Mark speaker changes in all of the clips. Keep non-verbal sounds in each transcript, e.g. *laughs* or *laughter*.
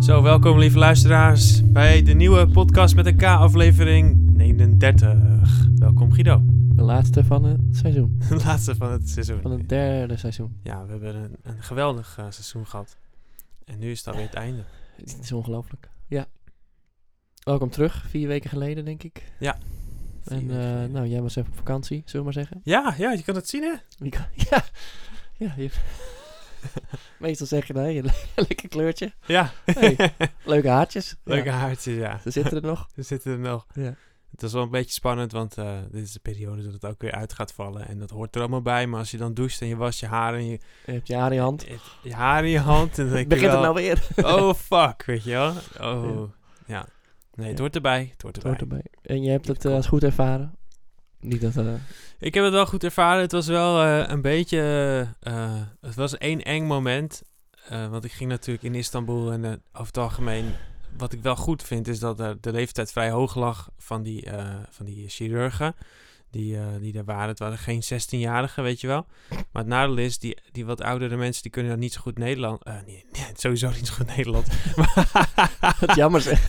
Speaker 1: Zo, welkom lieve luisteraars bij de nieuwe podcast met een K-aflevering 39. Welkom Guido, *laughs*
Speaker 2: De laatste van het seizoen.
Speaker 1: de laatste van het seizoen.
Speaker 2: Van het derde seizoen.
Speaker 1: Ja, we hebben een, een geweldig eh, seizoen gehad. En nu is het alweer het einde.
Speaker 2: Het is ongelooflijk. Ja. Welkom terug, vier weken geleden denk ik.
Speaker 1: Ja. Vier
Speaker 2: En
Speaker 1: weken
Speaker 2: eh,
Speaker 1: geleden.
Speaker 2: nou, jij was even op vakantie, zullen we maar zeggen.
Speaker 1: Ja, ja, je kan het zien hè?
Speaker 2: *laughs* Ik- Ja. Ja, je... *laughs* Meestal zeg je nee, le- *laughs* lekker kleurtje.
Speaker 1: Ja.
Speaker 2: Hey. Leuke haartjes.
Speaker 1: Leuke
Speaker 2: Ja,
Speaker 1: haartjes, ja.
Speaker 2: Ze zitten er nog.
Speaker 1: We zitten er nog.
Speaker 2: Ja.
Speaker 1: Het is wel een beetje spannend, want eh, dit is de periode dat het ook weer uit gaat vallen. En dat hoort er allemaal bij, maar als je dan doucht en je was je haar en je,
Speaker 2: Je hebt je haar in je hand.
Speaker 1: het- je, haar in je hand... En dan *laughs* denk je
Speaker 2: Begint het
Speaker 1: wel,
Speaker 2: nou weer?
Speaker 1: *laughs* Oh fuck, weet je wel. Oh, ja. Nee, het
Speaker 2: Ja.
Speaker 1: hoort erbij. Het hoort
Speaker 2: Het
Speaker 1: erbij.
Speaker 2: hoort erbij. En je hebt het eh, als goed ervaren. Niet
Speaker 1: *laughs*
Speaker 2: dat... eh,
Speaker 1: Ik heb het wel goed ervaren. Het was wel eh, een beetje... eh, het was één eng moment. Eh, want ik ging natuurlijk in Istanbul en eh, over het algemeen... Wat ik wel goed vind is dat eh, de leeftijd vrij hoog lag van die, eh, van die chirurgen. Die, eh, die er waren. Het waren geen 16-jarigen, weet je wel. Maar het nadeel is, die, die wat oudere mensen... die kunnen dan niet zo goed Nederland... eh, nee, *laughs* nee, sowieso niet zo goed
Speaker 2: *laughs*
Speaker 1: Nederland.
Speaker 2: het jammer zeg.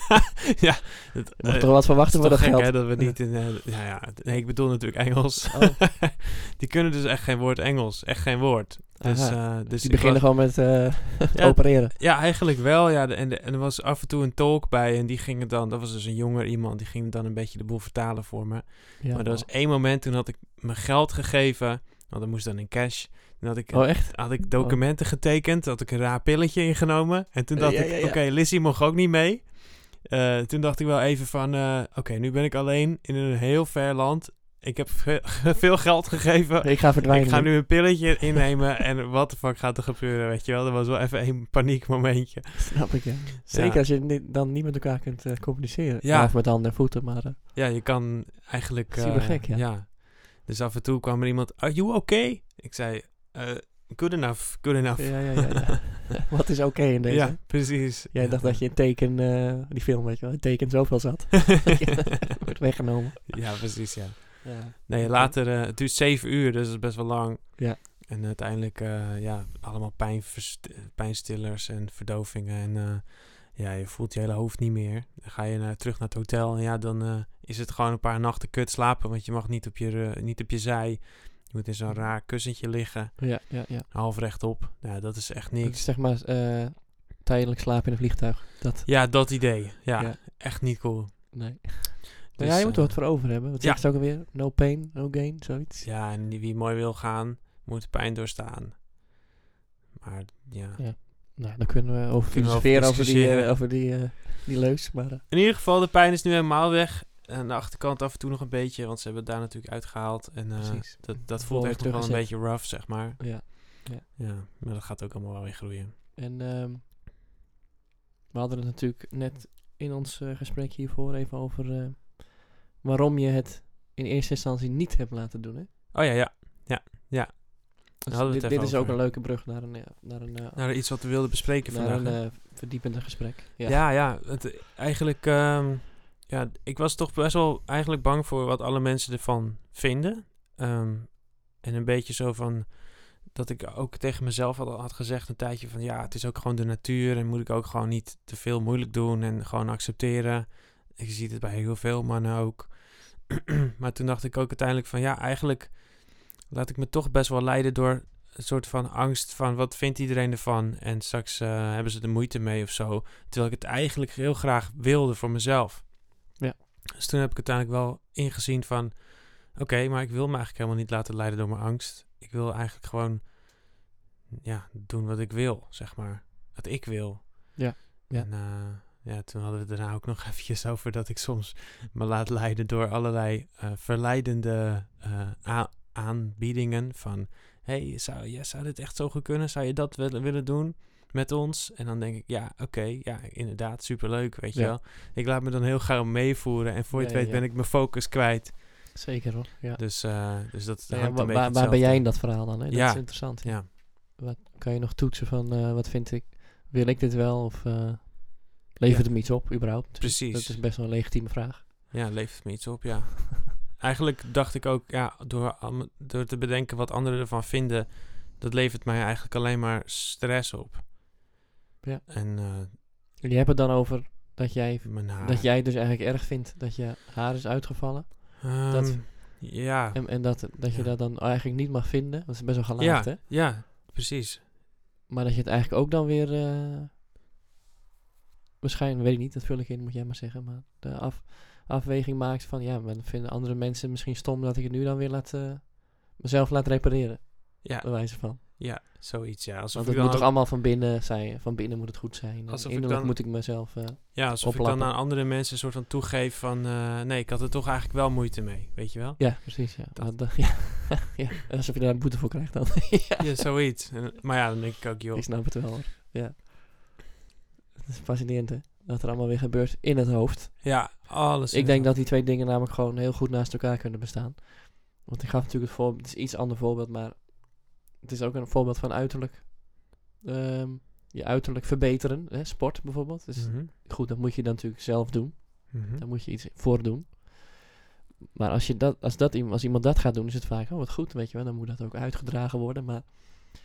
Speaker 1: ja. *laughs* Het,
Speaker 2: Je mag
Speaker 1: eh,
Speaker 2: toch wat verwachten voor
Speaker 1: Het
Speaker 2: dat
Speaker 1: is toch
Speaker 2: geld.
Speaker 1: gek, hè, dat we niet in... eh, ja, ja, d- nee, ik bedoel natuurlijk Engels. *laughs*
Speaker 2: Oh.
Speaker 1: die kunnen dus echt geen woord Engels. Echt geen woord. Dus,
Speaker 2: Aha.
Speaker 1: eh, dus
Speaker 2: Die
Speaker 1: ik
Speaker 2: beginnen
Speaker 1: was-
Speaker 2: gewoon met eh, *laughs*
Speaker 1: Ja.
Speaker 2: opereren.
Speaker 1: Ja, eigenlijk wel. Ja, De- en, de- en er was af en toe een tolk bij. En die ging het dan... Dat was dus een jonger iemand. Die ging dan een beetje de boel vertalen voor me.
Speaker 2: Ja.
Speaker 1: maar er was één moment toen had ik mijn geld gegeven. Want dat moest dan in cash. Toen had ik, eh,
Speaker 2: Oh,
Speaker 1: *laughs*
Speaker 2: echt?
Speaker 1: had ik documenten getekend. Had ik een raar pilletje ingenomen. En toen
Speaker 2: Eh,
Speaker 1: dacht
Speaker 2: ja,
Speaker 1: ik,
Speaker 2: ja, ja.
Speaker 1: oké, Lizzie mocht ook niet mee. Eh, toen dacht ik wel even van, eh, oké, nu ben ik alleen in een heel ver land. Ik heb ve- *laughs* veel geld gegeven.
Speaker 2: Ik ga verdwijnen.
Speaker 1: Ik ga nu een pilletje innemen en wat de fuck gaat er gebeuren, weet je wel? Dat was wel even een paniekmomentje.
Speaker 2: *laughs* Snap ik, ja. Zeker
Speaker 1: Ja.
Speaker 2: als je ni- dan niet met elkaar kunt eh, communiceren.
Speaker 1: Ja.
Speaker 2: Ja. Of met handen en voeten, maar... eh,
Speaker 1: Ja, je kan eigenlijk...
Speaker 2: Super
Speaker 1: eh,
Speaker 2: gek, ja.
Speaker 1: Dus af en toe kwam er iemand, are you okay? Ik zei, eh, good enough, good enough.
Speaker 2: ja, ja, ja. ja.
Speaker 1: *laughs*
Speaker 2: Wat is oké in deze?
Speaker 1: Ja, precies.
Speaker 2: Jij dacht dat je in teken... eh, die film, weet je wel. In teken zoveel zat.
Speaker 1: *laughs*
Speaker 2: *laughs* Wordt weggenomen.
Speaker 1: ja, precies, ja.
Speaker 2: Ja.
Speaker 1: Nee, later, eh, het duurt zeven uur, dus dat is best wel lang.
Speaker 2: Ja.
Speaker 1: En uiteindelijk, eh, ja, allemaal pijnverst- pijnstillers en verdovingen. En eh, ja, je voelt je hele hoofd niet meer. Dan ga je naar, terug naar het hotel en ja, dan eh, is het gewoon een paar nachten kut slapen. Want je mag niet op je, eh, niet op je zij. Je moet in zo'n raar kussentje liggen,
Speaker 2: Ja, ja, ja.
Speaker 1: half rechtop. Nou, dat is echt
Speaker 2: Het
Speaker 1: niks.
Speaker 2: is zeg maar eh, tijdelijk slapen in een vliegtuig. Dat...
Speaker 1: Ja, dat idee. Ja,
Speaker 2: Ja.
Speaker 1: echt niet cool. *laughs*
Speaker 2: Nee.
Speaker 1: Dus,
Speaker 2: maar ja, je moet er
Speaker 1: eh,
Speaker 2: wat voor over hebben. Wat
Speaker 1: ja.
Speaker 2: zegt ze ook alweer? No pain, no gain, zoiets.
Speaker 1: Ja, en die- wie mooi wil gaan, moet pijn doorstaan. Maar ja,
Speaker 2: Nou, dan kunnen we over
Speaker 1: Kunnen we over
Speaker 2: filosoferen over, die,
Speaker 1: discussiëren.
Speaker 2: eh, over die, eh, die leus. Maar eh,
Speaker 1: In ieder geval, de pijn is nu helemaal weg. Aan de achterkant af en toe nog een beetje, want ze hebben het daar natuurlijk uitgehaald. En eh,
Speaker 2: Precies.
Speaker 1: dat, dat
Speaker 2: Vervolgens
Speaker 1: voelt echt nog wel een
Speaker 2: teruggezet.
Speaker 1: beetje rough, zeg maar.
Speaker 2: ja.
Speaker 1: Ja, maar dat gaat ook allemaal wel weer groeien.
Speaker 2: En ehm, we hadden het natuurlijk net in ons eh, gesprek hiervoor even over eh, waarom je het in eerste instantie niet hebt laten doen. Hè?
Speaker 1: Oh ja, ja.
Speaker 2: Dus
Speaker 1: hadden we
Speaker 2: dit
Speaker 1: het
Speaker 2: dit
Speaker 1: even
Speaker 2: is ook
Speaker 1: over.
Speaker 2: een leuke brug naar een, eh, naar een, eh,
Speaker 1: Nou, iets wat we wilden bespreken
Speaker 2: naar
Speaker 1: vandaag.
Speaker 2: een
Speaker 1: hè?
Speaker 2: eh, verdiepender gesprek. Ja,
Speaker 1: ja, ja. het, eigenlijk, ehm, ja, ik was toch best wel eigenlijk bang voor wat alle mensen ervan vinden. Ehm, en een beetje zo van dat ik ook tegen mezelf had, had gezegd een tijdje van ja, het is ook gewoon de natuur en moet ik ook gewoon niet te veel moeilijk doen en gewoon accepteren. Je ziet het bij heel veel mannen ook. *clears throat* maar toen dacht ik ook uiteindelijk van ja, eigenlijk laat ik me toch best wel leiden door een soort van angst van wat vindt iedereen ervan en straks eh, hebben ze er moeite mee of zo. Terwijl ik het eigenlijk heel graag wilde voor mezelf.
Speaker 2: Ja.
Speaker 1: Dus toen heb ik uiteindelijk wel ingezien van oké, maar ik wil me eigenlijk helemaal niet laten leiden door mijn angst. Ik wil eigenlijk gewoon ja, doen wat ik wil, zeg maar. Wat ik wil.
Speaker 2: Ja, ja.
Speaker 1: En, eh, ja, toen hadden we het daarna ook nog *laughs* eventjes over dat ik soms me laat leiden door allerlei eh, verleidende eh, a- aanbiedingen van... hey, zou, ja, zou dit echt zo goed kunnen? Zou je dat willen, willen doen met ons? En dan denk ik, ja, oké, ja, inderdaad, superleuk, weet je
Speaker 2: Ja.
Speaker 1: wel. Ik laat me dan heel gauw meevoeren en voor je het
Speaker 2: Ja, ja,
Speaker 1: weet
Speaker 2: ja.
Speaker 1: ben ik mijn focus kwijt.
Speaker 2: zeker hoor. Ja.
Speaker 1: Dus, eh, dus dat
Speaker 2: Nou ja,
Speaker 1: hangt een
Speaker 2: wa-
Speaker 1: beetje
Speaker 2: waar, waar ben jij in
Speaker 1: hetzelfde.
Speaker 2: dat verhaal dan? Hè? Dat
Speaker 1: Ja.
Speaker 2: is interessant.
Speaker 1: Ja.
Speaker 2: Wat kan je nog toetsen van eh, wat vind ik, wil ik dit wel of eh, levert het me iets op überhaupt?
Speaker 1: Precies.
Speaker 2: Dat is best wel een legitieme vraag.
Speaker 1: Ja, levert me iets op, ja. *laughs* eigenlijk dacht ik ook, ja, door, am- door te bedenken wat anderen ervan vinden, dat levert mij eigenlijk alleen maar stress op.
Speaker 2: Ja.
Speaker 1: En eh,
Speaker 2: Je hebt het dan over dat jij,
Speaker 1: Mijn haar.
Speaker 2: dat jij dus eigenlijk erg vindt dat je haar is uitgevallen.
Speaker 1: Ehm,
Speaker 2: dat-
Speaker 1: ja.
Speaker 2: En, en dat, dat je
Speaker 1: Ja.
Speaker 2: dat dan eigenlijk niet mag vinden. Dat is best wel gelaagd,
Speaker 1: Ja,
Speaker 2: hè?
Speaker 1: ja, precies.
Speaker 2: Maar dat je het eigenlijk ook dan weer... eh waarschijnlijk, weet ik niet, dat vul ik in, moet jij maar zeggen. Maar de af, afweging maakt van... Ja, maar dan vinden andere mensen misschien stom dat ik het nu dan weer laat... eh, mezelf laat repareren,
Speaker 1: Ja,
Speaker 2: bij wijze van.
Speaker 1: ja, zoiets. Ja, alsof
Speaker 2: Want
Speaker 1: ik
Speaker 2: het
Speaker 1: dan,
Speaker 2: moet toch allemaal van binnen zijn. Van binnen moet het goed zijn. En
Speaker 1: Alsof ik
Speaker 2: Innerlijk
Speaker 1: dan-
Speaker 2: moet ik mezelf... eh,
Speaker 1: ja, alsof ik dan
Speaker 2: oplappen.
Speaker 1: aan andere mensen een soort van toegeef van... eh, nee, ik had er toch eigenlijk wel moeite mee, weet je wel?
Speaker 2: ja, precies. Ja.
Speaker 1: Dat-
Speaker 2: Maar dan- *laughs* ja, ja, alsof je daar een boete voor krijgt dan.
Speaker 1: Ja, zoiets. En- maar ja, dan denk ik ook, joh.
Speaker 2: Ik snap het wel hoor. Ja. Het is fascinerend hè. Wat er allemaal weer gebeurt in het hoofd.
Speaker 1: Ja, alles.
Speaker 2: ik denk dat die twee dingen namelijk gewoon heel goed naast elkaar kunnen bestaan. Want ik gaf natuurlijk het voorbeeld. Het is iets ander voorbeeld, maar het is ook een voorbeeld van uiterlijk. ehm, je uiterlijk verbeteren. Hè? Sport bijvoorbeeld. Dus
Speaker 1: Mhm,
Speaker 2: goed, dat moet je dan natuurlijk zelf doen.
Speaker 1: mhm.
Speaker 2: Daar moet je iets voor doen. Maar als, je dat, als, dat, iem- als iemand dat gaat doen, is het vaak, oh wat goed, weet je wel, dan moet dat ook uitgedragen worden. Maar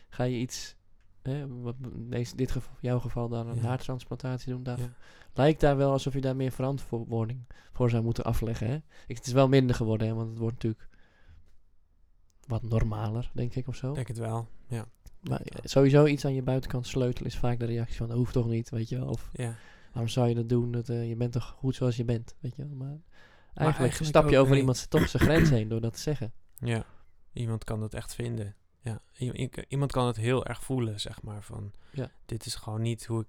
Speaker 2: ga je iets, hè, wat, in deze- dit geval, jouw geval, dan een
Speaker 1: Ja.
Speaker 2: haartransplantatie doen, daar,
Speaker 1: Ja.
Speaker 2: lijkt daar wel alsof je daar meer verantwoording voor zou moeten afleggen. Hè? Ik, het is wel minder geworden, hè, want het wordt natuurlijk wat normaler, denk ik, of zo.
Speaker 1: denk het wel. Ja,
Speaker 2: maar
Speaker 1: het wel.
Speaker 2: eh, sowieso iets aan je buitenkant sleutelen is vaak de reactie van, dat hoeft toch niet, weet je wel. Of
Speaker 1: ja.
Speaker 2: Waarom zou je dat doen? Dat, eh, je bent toch goed zoals je bent, weet je wel. Maar eigenlijk,
Speaker 1: eigenlijk
Speaker 2: stap je
Speaker 1: ook
Speaker 2: over
Speaker 1: niet.
Speaker 2: iemands toch zijn grens heen door dat te zeggen.
Speaker 1: ja. Iemand kan dat echt vinden. Ja. I- i- iemand kan het heel erg voelen, zeg maar. Van,
Speaker 2: Ja.
Speaker 1: dit is gewoon niet hoe ik,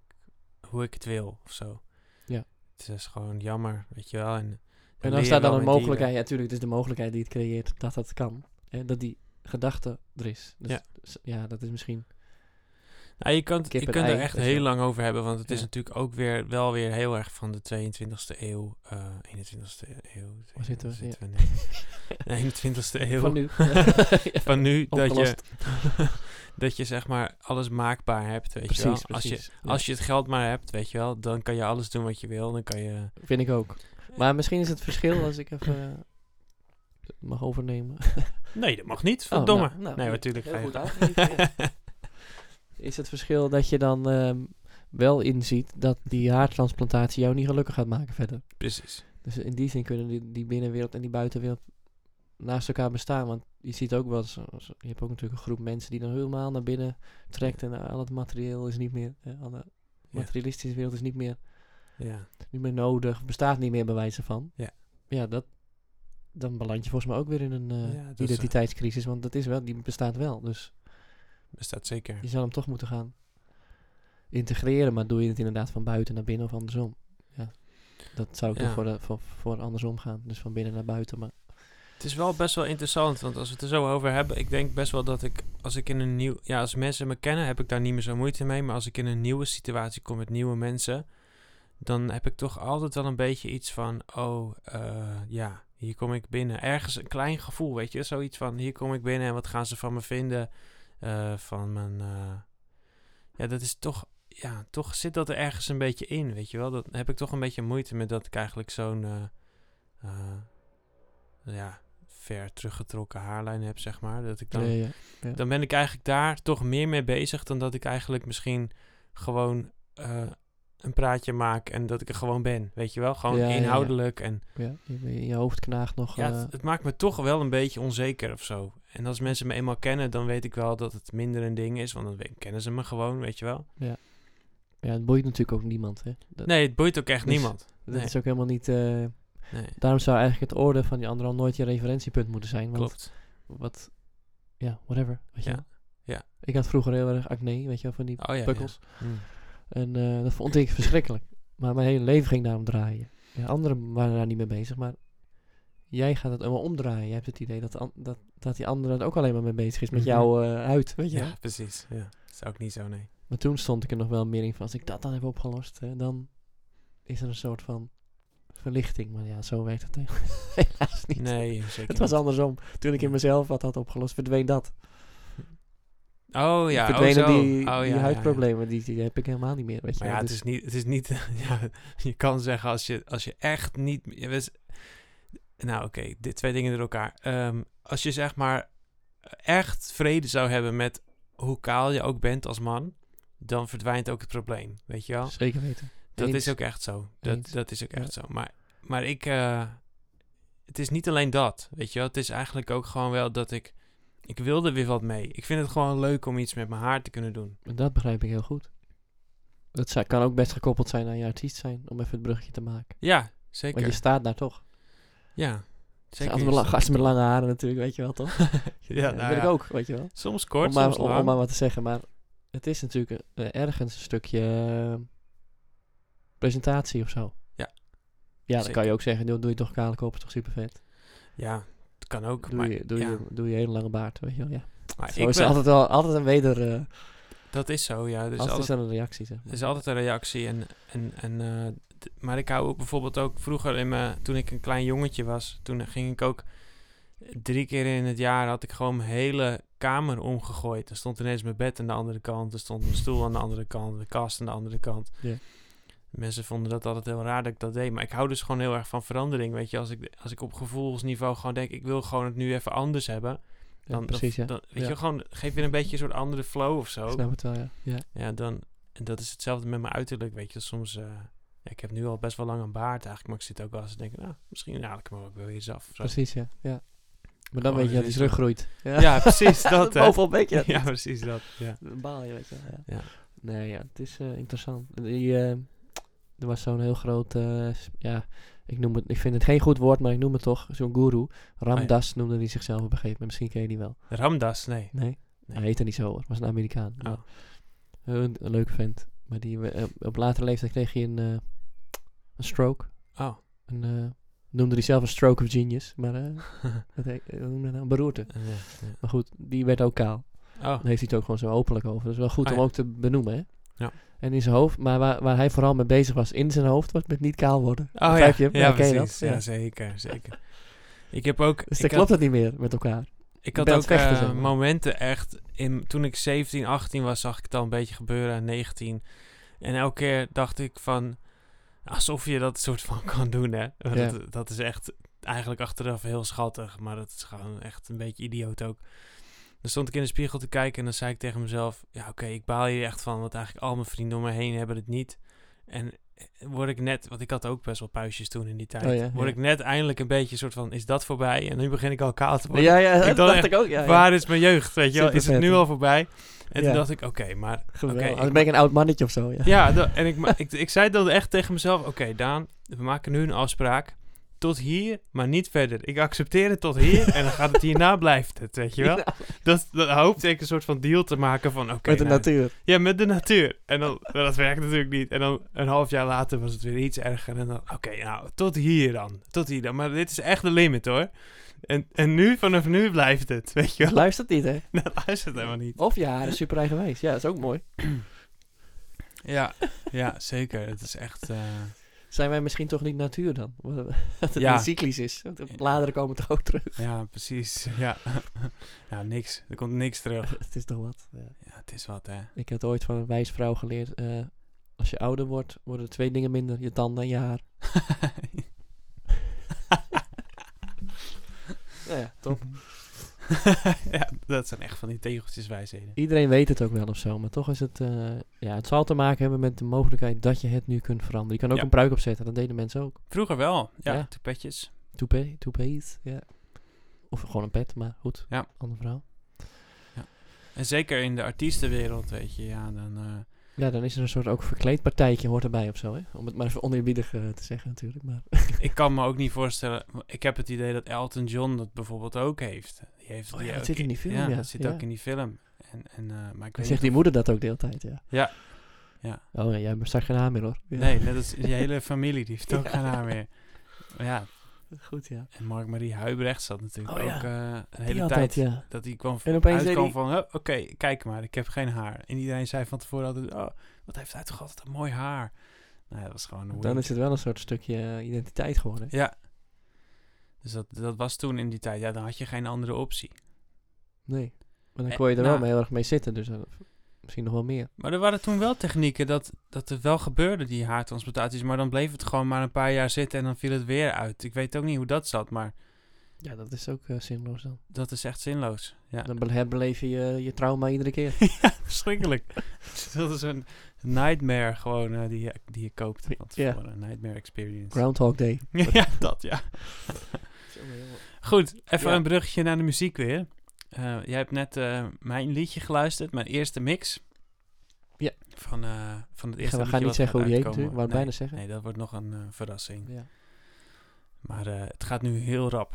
Speaker 1: hoe ik het wil, of zo.
Speaker 2: Ja.
Speaker 1: Het is gewoon jammer, weet je wel. En, dan
Speaker 2: En
Speaker 1: leer
Speaker 2: dan
Speaker 1: je
Speaker 2: staat
Speaker 1: wel
Speaker 2: dan
Speaker 1: mee
Speaker 2: een
Speaker 1: dealen.
Speaker 2: mogelijkheid, ja natuurlijk, het is de mogelijkheid die het creëert dat dat kan. En dat die gedachte er is. Dus,
Speaker 1: Ja.
Speaker 2: s- ja, dat is misschien...
Speaker 1: Nou, je kunt,
Speaker 2: Kip
Speaker 1: je
Speaker 2: en
Speaker 1: kunt er
Speaker 2: ei,
Speaker 1: echt
Speaker 2: weet
Speaker 1: heel
Speaker 2: je wel.
Speaker 1: lang over hebben, want het is
Speaker 2: Ja.
Speaker 1: natuurlijk ook weer, wel weer heel erg van de 22e eeuw. eh 21e eeuw.
Speaker 2: Waar zitten we?
Speaker 1: we? *laughs* nee. Nee, 21e eeuw.
Speaker 2: Van
Speaker 1: *laughs*
Speaker 2: nu. *laughs*
Speaker 1: Van nu dat je,
Speaker 2: Opgelost.
Speaker 1: dat je zeg maar alles maakbaar hebt, weet je
Speaker 2: Precies,
Speaker 1: wel. Als je,
Speaker 2: precies. Ja,
Speaker 1: als je het geld maar hebt, weet je wel, dan kan je alles doen wat je wil. Dan kan je...
Speaker 2: Vind ik ook. Maar misschien is het verschil als ik even...
Speaker 1: *laughs*
Speaker 2: eh, mag overnemen.
Speaker 1: Nee, dat mag niet,
Speaker 2: Oh,
Speaker 1: verdomme.
Speaker 2: nou, nou,
Speaker 1: nee,
Speaker 2: ja,
Speaker 1: natuurlijk
Speaker 2: heel
Speaker 1: ga je
Speaker 2: goed
Speaker 1: gaan.
Speaker 2: aangegeven,
Speaker 1: *laughs*
Speaker 2: Is het verschil dat je dan ehm, wel inziet dat die haartransplantatie jou niet gelukkig gaat maken verder.
Speaker 1: Precies.
Speaker 2: Dus in die zin kunnen die, die binnenwereld en die buitenwereld naast elkaar bestaan. Want je ziet ook wel eens, als- je hebt ook natuurlijk een groep mensen die dan helemaal naar binnen trekt en eh, al het materieel is niet meer, eh, alle materialistische wereld is niet meer,
Speaker 1: Ja.
Speaker 2: niet meer nodig, bestaat niet meer bij wijze van.
Speaker 1: Ja.
Speaker 2: Ja, dat, dan beland je volgens mij ook weer in een eh,
Speaker 1: Ja, dat is, eh,
Speaker 2: identiteitscrisis, want dat is wel, die bestaat wel. Dus
Speaker 1: Bestaat zeker.
Speaker 2: je zou hem toch moeten gaan integreren, maar doe je het inderdaad van buiten naar binnen of andersom? Ja. Dat zou ik
Speaker 1: Ja.
Speaker 2: toch voor, de- voor, voor andersom gaan. Dus van binnen naar buiten. Maar
Speaker 1: Het is wel best wel interessant, want als we het er zo over hebben, ik denk best wel dat ik, als ik in een nieuw, ja, als mensen me kennen, heb ik daar niet meer zo moeite mee, maar als ik in een nieuwe situatie kom met nieuwe mensen, dan heb ik toch altijd wel een beetje iets van, oh, eh, ja, hier kom ik binnen. Ergens een klein gevoel, weet je, zoiets van, hier kom ik binnen en wat gaan ze van me vinden, eh, van mijn, eh, ja, dat is toch, ja, toch zit dat er ergens een beetje in, weet je wel. Dat heb ik toch een beetje moeite met dat ik eigenlijk zo'n, eh, eh, ja, ver teruggetrokken haarlijn heb, zeg maar. Dat ik dan,
Speaker 2: nee, eh, ja.
Speaker 1: dan ben ik eigenlijk daar toch meer mee bezig dan dat ik eigenlijk misschien gewoon eh, een praatje maak en dat ik er gewoon ben, weet je wel? Gewoon
Speaker 2: Ja, ja, ja.
Speaker 1: inhoudelijk en
Speaker 2: Ja, je, je- je hoofd knaagt nog.
Speaker 1: ja,
Speaker 2: eh,
Speaker 1: het, het maakt me toch wel een beetje onzeker of zo. En als mensen me eenmaal kennen, dan weet ik wel dat het minder een ding is, want dan we- kennen ze me gewoon, weet je wel?
Speaker 2: ja, het boeit natuurlijk ook niemand. Hè. Dat,
Speaker 1: Nee, het boeit ook echt
Speaker 2: Dus-
Speaker 1: niemand.
Speaker 2: dat
Speaker 1: nee.
Speaker 2: is ook helemaal niet. eh,
Speaker 1: Nee,
Speaker 2: daarom zou eigenlijk het oordeel van die ander al nooit je referentiepunt moeten zijn. Want
Speaker 1: klopt.
Speaker 2: wat. Ja, whatever. Weet je
Speaker 1: Ja,
Speaker 2: wel.
Speaker 1: ja.
Speaker 2: Ik had vroeger heel erg acne, weet je wel, van die
Speaker 1: Oh ja, ja.
Speaker 2: pukkels.
Speaker 1: Hm.
Speaker 2: En eh, dat vond ik verschrikkelijk. Maar mijn hele leven ging daarom draaien. Ja, anderen waren daar niet mee bezig, maar jij gaat het allemaal omdraaien. Jij hebt het idee dat, de an- dat, dat die ander er ook alleen maar mee bezig is met
Speaker 1: Mhm.
Speaker 2: jouw eh, huid, weet je
Speaker 1: Ja,
Speaker 2: wel.
Speaker 1: precies. Ja. Dat is ook niet zo, nee.
Speaker 2: Maar toen stond ik er nog wel meer in van, als ik dat dan heb opgelost, hè, dan is er een soort van verlichting. Maar ja, zo werkt het *laughs* he- helaas niet.
Speaker 1: Nee, zeker
Speaker 2: Het was
Speaker 1: niet.
Speaker 2: andersom. Toen ik in mezelf wat had opgelost, verdween dat.
Speaker 1: Oh ja, oh
Speaker 2: Verdwenen
Speaker 1: zo.
Speaker 2: die,
Speaker 1: oh, ja,
Speaker 2: die
Speaker 1: ja, ja.
Speaker 2: huidproblemen, Die, die heb ik helemaal niet meer, weet je Dus
Speaker 1: Maar ja,
Speaker 2: wel.
Speaker 1: het is niet. Het is niet *laughs* ja, je kan zeggen als je, als je echt niet. je wist- nou, oké, dit twee dingen door elkaar. Ehm, als je zeg maar echt vrede zou hebben met hoe kaal je ook bent als man, dan verdwijnt ook het probleem. Weet je wel?
Speaker 2: Zeker weten.
Speaker 1: Dat
Speaker 2: Dus Eens.
Speaker 1: is ook echt zo. Dat,
Speaker 2: Eens.
Speaker 1: dat is ook
Speaker 2: Ja.
Speaker 1: echt zo. Maar, maar ik... eh, het is niet alleen dat, weet je wel. Het is eigenlijk ook gewoon wel dat ik... Ik wil er weer wat mee. Ik vind het gewoon leuk om iets met mijn haar te kunnen doen.
Speaker 2: Dat begrijp ik heel goed. Dat zou- kan ook best gekoppeld zijn aan je artiest zijn, om even het bruggetje te maken.
Speaker 1: Ja,
Speaker 2: Want
Speaker 1: zeker.
Speaker 2: je staat daar toch.
Speaker 1: Ja,
Speaker 2: Zeker.
Speaker 1: zeker.
Speaker 2: Altijd met, la- gasten met lange haren natuurlijk, weet je wel
Speaker 1: *laughs*
Speaker 2: toch?
Speaker 1: ja, nou
Speaker 2: dat ben
Speaker 1: ja.
Speaker 2: ik ook, weet je wel.
Speaker 1: Soms kort,
Speaker 2: om, maar,
Speaker 1: soms
Speaker 2: om,
Speaker 1: lang.
Speaker 2: om maar wat te zeggen, maar het is natuurlijk eh, ergens een stukje eh, presentatie of zo.
Speaker 1: Ja.
Speaker 2: Ja, dan
Speaker 1: Zeker.
Speaker 2: kan je ook zeggen, doe, doe je toch kale kopen, toch super vet.
Speaker 1: Ja, het kan ook.
Speaker 2: Doe,
Speaker 1: maar
Speaker 2: je, doe,
Speaker 1: ja,
Speaker 2: je, doe je hele lange baard, weet je wel. Ja.
Speaker 1: maar
Speaker 2: Zo
Speaker 1: ik
Speaker 2: is
Speaker 1: ben-
Speaker 2: altijd, wel, altijd een weder, eh,
Speaker 1: dat is zo, ja. Dus Er is,
Speaker 2: altijd,
Speaker 1: altijd,
Speaker 2: is er een reactie, zeg
Speaker 1: er
Speaker 2: maar.
Speaker 1: is altijd een reactie. En, en, en, eh, d- maar ik hou ook bijvoorbeeld ook vroeger, in mijn, toen ik een klein jongetje was, toen ging ik ook drie keer in het jaar had ik gewoon mijn hele kamer omgegooid. Er stond ineens mijn bed aan de andere kant, er stond mijn stoel aan de andere kant, mijn kast aan de andere kant.
Speaker 2: Ja.
Speaker 1: Mensen vonden dat altijd heel raar dat ik dat deed. Maar ik hou dus gewoon heel erg van verandering. Weet je, als ik, als ik op gevoelsniveau gewoon denk, ik wil gewoon het nu even anders hebben.
Speaker 2: Ja,
Speaker 1: Dan,
Speaker 2: precies, ja.
Speaker 1: dan, dan- weet
Speaker 2: Ja.
Speaker 1: je, gewoon geef weer een beetje een soort andere flow of
Speaker 2: Ik
Speaker 1: zo.
Speaker 2: snap het wel, ja. ja.
Speaker 1: Ja, dan, en dat is hetzelfde met mijn uiterlijk, weet je. Soms, eh, ja, ik heb nu al best wel lang een baard eigenlijk, maar ik zit ook wel eens te denken, nou, misschien haal ik me ook wel eens af. of zo.
Speaker 2: Precies, ja. ja. Maar dan
Speaker 1: Gewoon
Speaker 2: weet je dat hij
Speaker 1: eens
Speaker 2: teruggroeit.
Speaker 1: Ja, *laughs* precies dat, hè.
Speaker 2: Overal weet je
Speaker 1: *laughs*
Speaker 2: dat
Speaker 1: Ja,
Speaker 2: niet.
Speaker 1: precies dat, ja.
Speaker 2: *laughs* Dan baal je, weet je wel, Ja.
Speaker 1: Ja.
Speaker 2: Nee, ja, het is eh, interessant. Die, eh, er was zo'n heel groot, eh, s- ja, ik noem het, ik vind het geen goed woord, maar ik noem het toch, zo'n guru. Ramdas
Speaker 1: Ah,
Speaker 2: noemde hij zichzelf op een gegeven moment, misschien ken je die wel.
Speaker 1: Ramdas, nee.
Speaker 2: Nee?
Speaker 1: Nee.
Speaker 2: Hij heette niet zo hoor, was een Amerikaan.
Speaker 1: Oh.
Speaker 2: Maar, een, een leuke vent. Maar die, we- eh, op latere leeftijd kreeg hij een, eh, een stroke.
Speaker 1: Oh,
Speaker 2: Een, eh, noemde hij zelf een stroke of genius, maar eh,
Speaker 1: *laughs*
Speaker 2: dat heet, eh, hoe noem je dat nou? een beroerte.
Speaker 1: eh, ja, ja.
Speaker 2: Maar goed, die werd ook kaal.
Speaker 1: Oh,
Speaker 2: Dan heeft hij het ook gewoon zo openlijk over. Dat is wel goed
Speaker 1: Ah,
Speaker 2: om
Speaker 1: ja.
Speaker 2: ook te benoemen, hè?
Speaker 1: Ja.
Speaker 2: En in zijn hoofd, maar waar, waar hij vooral mee bezig was in zijn hoofd, was met niet kaal worden.
Speaker 1: oh ja,
Speaker 2: Begrijp je?
Speaker 1: ja,
Speaker 2: Ja, ken je dat?
Speaker 1: precies. Ja,
Speaker 2: Ja.
Speaker 1: zeker, zeker. Ik heb ook...
Speaker 2: Dus
Speaker 1: ik
Speaker 2: dan
Speaker 1: had-
Speaker 2: klopt het niet meer met elkaar.
Speaker 1: Ik had
Speaker 2: bent
Speaker 1: ook
Speaker 2: vechten,
Speaker 1: eh,
Speaker 2: zeg maar.
Speaker 1: momenten echt, in, toen ik 17, 18 was, zag ik het al een beetje gebeuren, en 19. En elke keer dacht ik van, alsof je dat soort van *laughs* kan doen, hè. Want
Speaker 2: Ja.
Speaker 1: Dat, dat is echt, eigenlijk achteraf heel schattig, maar dat is gewoon echt een beetje idioot ook. Dan stond ik in de spiegel te kijken en dan zei ik tegen mezelf, ja oké, ik baal hier echt van, want eigenlijk al mijn vrienden om me heen hebben het niet. En eh, word ik net, want ik had ook best wel puistjes toen in die tijd,
Speaker 2: Oh ja,
Speaker 1: word
Speaker 2: ja.
Speaker 1: ik net eindelijk een beetje soort van, is dat voorbij? En nu begin ik al kaal te worden.
Speaker 2: ja,
Speaker 1: dacht dacht echt,
Speaker 2: ik ook. Ja,
Speaker 1: Waar is mijn jeugd? Weet je wel, is het
Speaker 2: Supervet,
Speaker 1: nu
Speaker 2: hè?
Speaker 1: al voorbij? En
Speaker 2: Ja.
Speaker 1: toen dacht ik, oké, maar.
Speaker 2: Geweldig.
Speaker 1: oké,
Speaker 2: Dan
Speaker 1: ik-
Speaker 2: ben ik een oud mannetje of zo, ja.
Speaker 1: Ja, da- en ik, ma- ik, ik zei dan echt tegen mezelf: oké, Daan, we maken nu een afspraak. Tot hier, maar niet verder. Ik accepteer het tot hier en dan gaat het
Speaker 2: *laughs*
Speaker 1: hierna blijft het, weet je wel? Dat, dat hoopte ik een soort van deal te maken van, oké.
Speaker 2: met de
Speaker 1: nou,
Speaker 2: natuur.
Speaker 1: Ja, met de natuur. En dan, maar dat werkt natuurlijk niet. En dan een half jaar later was het weer iets erger. En dan, oké, nou, tot hier dan. Tot hier dan. Maar dit is echt de limit, hoor. En, en nu, vanaf nu blijft het, weet je wel? *laughs*
Speaker 2: Luistert niet, hè?
Speaker 1: Nou, luistert helemaal niet.
Speaker 2: Of ja, dat is super eigenwijs. Ja, dat is ook mooi.
Speaker 1: Ja, ja zeker. Het is echt. eh,
Speaker 2: Zijn wij misschien toch niet natuur dan? *laughs* Dat het
Speaker 1: Ja.
Speaker 2: niet cyclisch is. Want de bladeren komen toch ook terug. *laughs*
Speaker 1: ja, precies. *laughs* Ja. ja, niks. Er komt niks terug.
Speaker 2: het is toch wat. Ja.
Speaker 1: Ja, het is wat, hè? *laughs*
Speaker 2: Ik had ooit van een wijs vrouw geleerd. eh, als je ouder wordt, worden er twee dingen minder. Je tanden en je haar. Nou ja, top.
Speaker 1: ja, dat zijn echt van die tegeltjeswijsheden.
Speaker 2: *laughs* Iedereen weet het ook wel of zo. Maar toch is het... eh, ja, het zal te maken hebben met de mogelijkheid dat je het nu kunt veranderen. Je kan ook
Speaker 1: Ja.
Speaker 2: een pruik opzetten. Dat deden mensen ook.
Speaker 1: Vroeger wel. Ja,
Speaker 2: Ja.
Speaker 1: toepetjes.
Speaker 2: Toupé, toupé's. Ja. Of gewoon een pet, maar goed.
Speaker 1: Ja.
Speaker 2: Ander verhaal.
Speaker 1: En zeker in de artiestenwereld, weet je. Ja, dan. eh,
Speaker 2: Ja, dan is er een soort ook verkleedpartijtje hoort erbij of zo, hè? Om het maar even oneerbiedig eh, te zeggen natuurlijk, maar...
Speaker 1: ik kan me ook niet voorstellen. Ik heb het idee dat Elton John dat bijvoorbeeld ook heeft. Die heeft
Speaker 2: Oh ja,
Speaker 1: die
Speaker 2: dat
Speaker 1: ook-
Speaker 2: zit in die film, ja.
Speaker 1: dat zit
Speaker 2: Ja.
Speaker 1: ook in die film. En, en, eh, maar ik
Speaker 2: Dan
Speaker 1: weet
Speaker 2: *laughs* zegt
Speaker 1: niet
Speaker 2: die moeder dat ook de hele tijd, ja.
Speaker 1: Ja. Ja.
Speaker 2: Oh ja, jij straks geen haar meer, hoor. Ja.
Speaker 1: Nee, net als
Speaker 2: *laughs*
Speaker 1: je hele familie, die heeft ook geen haar meer. Maar ja,
Speaker 2: Goed, ja.
Speaker 1: en Mark-Marie Huibrecht zat natuurlijk
Speaker 2: Oh ja,
Speaker 1: ook eh, een
Speaker 2: Die
Speaker 1: hele
Speaker 2: had
Speaker 1: tijd.
Speaker 2: Dat, ja.
Speaker 1: Dat hij kwam
Speaker 2: En opeens zei
Speaker 1: uitkwam
Speaker 2: die-
Speaker 1: van, "Huh, oké, kijk maar, ik heb geen haar. En iedereen zei van tevoren altijd, oh, wat heeft hij toch altijd een mooi haar. Nou, dat was gewoon een
Speaker 2: Dan is het wel een soort stukje eh, identiteit geworden.
Speaker 1: Ja. Dus dat, dat was toen in die tijd. Ja, dan had je geen andere optie.
Speaker 2: Nee. Maar dan
Speaker 1: Eh,
Speaker 2: kon je er wel
Speaker 1: nou.
Speaker 2: mee heel erg mee zitten, dus dan- misschien nog wel meer.
Speaker 1: Maar er waren toen wel technieken dat, dat er wel gebeurde die haartransplantaties. Maar dan bleef het gewoon maar een paar jaar zitten en dan viel het weer uit. Ik weet ook niet hoe dat zat, maar
Speaker 2: Ja, dat is ook eh, zinloos dan.
Speaker 1: Dat is echt zinloos. Ja.
Speaker 2: Dan bele- herbeleef je je je trauma iedere keer. *laughs*
Speaker 1: ja, verschrikkelijk. *laughs* dat is een nightmare gewoon eh, die, je, die je koopt. Van
Speaker 2: Ja.
Speaker 1: tevoren. Een nightmare experience.
Speaker 2: Groundhog Day.
Speaker 1: *laughs* ja, dat ja. Goed, even
Speaker 2: Ja.
Speaker 1: een bruggetje naar de muziek weer. Eh, jij hebt net eh, mijn liedje geluisterd, mijn eerste mix.
Speaker 2: Ja.
Speaker 1: Van, eh, van het eerste
Speaker 2: Gaan we
Speaker 1: liedje
Speaker 2: gaan niet
Speaker 1: wat
Speaker 2: zeggen hoe die heet
Speaker 1: uitkomen.
Speaker 2: natuurlijk. Wou ik
Speaker 1: nee,
Speaker 2: bijna zeggen.
Speaker 1: Nee, dat wordt nog een eh, verrassing.
Speaker 2: Ja.
Speaker 1: Maar eh, het gaat nu heel rap.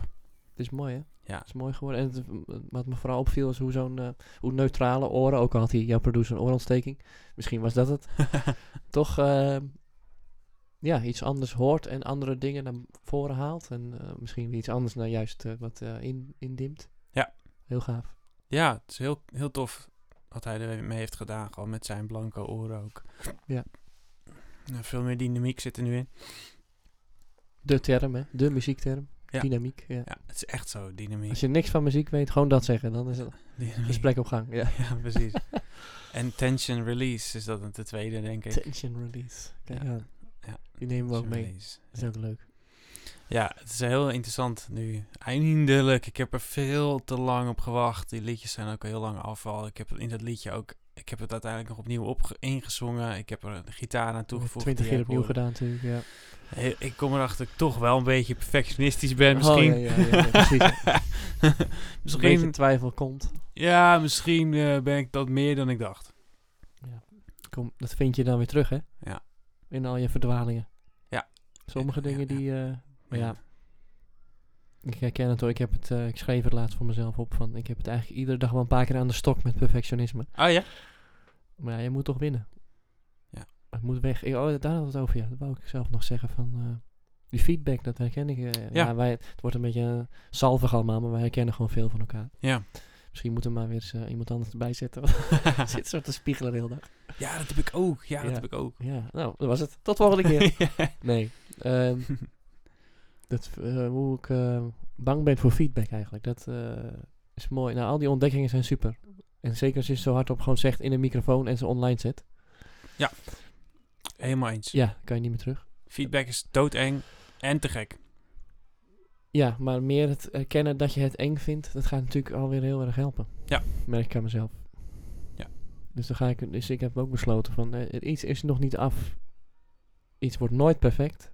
Speaker 2: Het is mooi, hè?
Speaker 1: Ja.
Speaker 2: Het is mooi geworden. En het, wat me vooral opviel is hoe zo'n eh, hoe neutrale oren, ook al had hij jouw producer een oorontsteking, misschien was
Speaker 1: *laughs*
Speaker 2: dat het, toch eh, ja, iets anders hoort en andere dingen naar voren haalt. En eh, misschien weer iets anders naar juist eh, wat eh, in, indimt.
Speaker 1: Ja.
Speaker 2: Heel gaaf.
Speaker 1: Ja, het is heel, heel tof wat hij ermee heeft gedaan. Gewoon met zijn blanke oren ook.
Speaker 2: Ja.
Speaker 1: Nou, veel meer dynamiek zit er nu in.
Speaker 2: De term, hè? De muziekterm.
Speaker 1: Ja.
Speaker 2: Dynamiek. Ja.
Speaker 1: Ja, het is echt zo, dynamiek.
Speaker 2: Als je niks van muziek weet, gewoon dat zeggen. Dan
Speaker 1: *laughs*
Speaker 2: is het
Speaker 1: Dynamiek.
Speaker 2: gesprek op gang. Ja.
Speaker 1: Ja,
Speaker 2: *laughs*
Speaker 1: precies. en tension release is dat de tweede, denk ik.
Speaker 2: Tension release. Kijk
Speaker 1: Ja.
Speaker 2: aan.
Speaker 1: Ja.
Speaker 2: Die nemen we ook
Speaker 1: Tension
Speaker 2: mee.
Speaker 1: release.
Speaker 2: Dat is ook leuk.
Speaker 1: Ja, het is heel interessant nu. Eindelijk. Ik heb er veel te lang op gewacht. Die liedjes zijn ook heel lang afval. Ik heb in dat liedje ook... Ik heb het uiteindelijk nog opnieuw op ingezongen. Ik heb er de gitaar aan toegevoegd.
Speaker 2: Twintig
Speaker 1: die
Speaker 2: keer
Speaker 1: jij
Speaker 2: opnieuw
Speaker 1: hoorde.
Speaker 2: gedaan natuurlijk, ja.
Speaker 1: Hey, ik kom erachter dat ik toch wel een beetje perfectionistisch ben,
Speaker 2: Oh,
Speaker 1: misschien.
Speaker 2: ja, ja, ja, ja,
Speaker 1: *laughs*
Speaker 2: precies. Een beetje
Speaker 1: misschien
Speaker 2: twijfel komt.
Speaker 1: ja, misschien eh, ben ik dat meer dan ik dacht.
Speaker 2: Kom, dat vind je dan weer terug, hè?
Speaker 1: Ja.
Speaker 2: In al je verdwalingen.
Speaker 1: Ja.
Speaker 2: Sommige
Speaker 1: Ja, ja,
Speaker 2: dingen
Speaker 1: ja.
Speaker 2: die... eh, maar ja. ik herken het hoor. Ik, heb het, eh, ik schreef het laatst voor mezelf op. Van, ik heb het eigenlijk iedere dag wel een paar keer aan de stok met perfectionisme.
Speaker 1: Oh ja?
Speaker 2: Maar ja, je moet toch winnen.
Speaker 1: Ja.
Speaker 2: Het moet weg. Ik, oh, daar had het over, ja. Dat wou ik zelf nog zeggen van... eh, die feedback, dat herken ik. eh,
Speaker 1: Ja.
Speaker 2: wij, het wordt een beetje eh, zalvig allemaal, maar wij herkennen gewoon veel van elkaar.
Speaker 1: Ja.
Speaker 2: Misschien moeten we maar weer eens eh, iemand anders erbij zetten. *laughs* Zit zo te spiegelen de hele dag.
Speaker 1: *laughs* ja, dat heb ik ook. Ja, dat
Speaker 2: Ja.
Speaker 1: heb ik ook.
Speaker 2: Ja, nou, dat was het. Tot de volgende
Speaker 1: *laughs*
Speaker 2: keer.
Speaker 1: Ja.
Speaker 2: *laughs* Nee. ehm, *laughs* dat, eh, hoe ik eh, bang ben voor feedback eigenlijk. Dat eh, is mooi. Nou, al die ontdekkingen zijn super. En zeker als je het zo hardop gewoon zegt in een microfoon en ze online zet.
Speaker 1: Helemaal eens.
Speaker 2: Ja, kan je niet meer terug.
Speaker 1: Feedback is doodeng en te gek.
Speaker 2: Ja, maar meer het erkennen dat je het eng vindt, dat gaat natuurlijk alweer heel erg helpen.
Speaker 1: Ja.
Speaker 2: Merk ik aan mezelf.
Speaker 1: Ja.
Speaker 2: Dus, dan ga ik, dus ik heb ook besloten van, eh, iets is nog niet af. Iets wordt nooit perfect.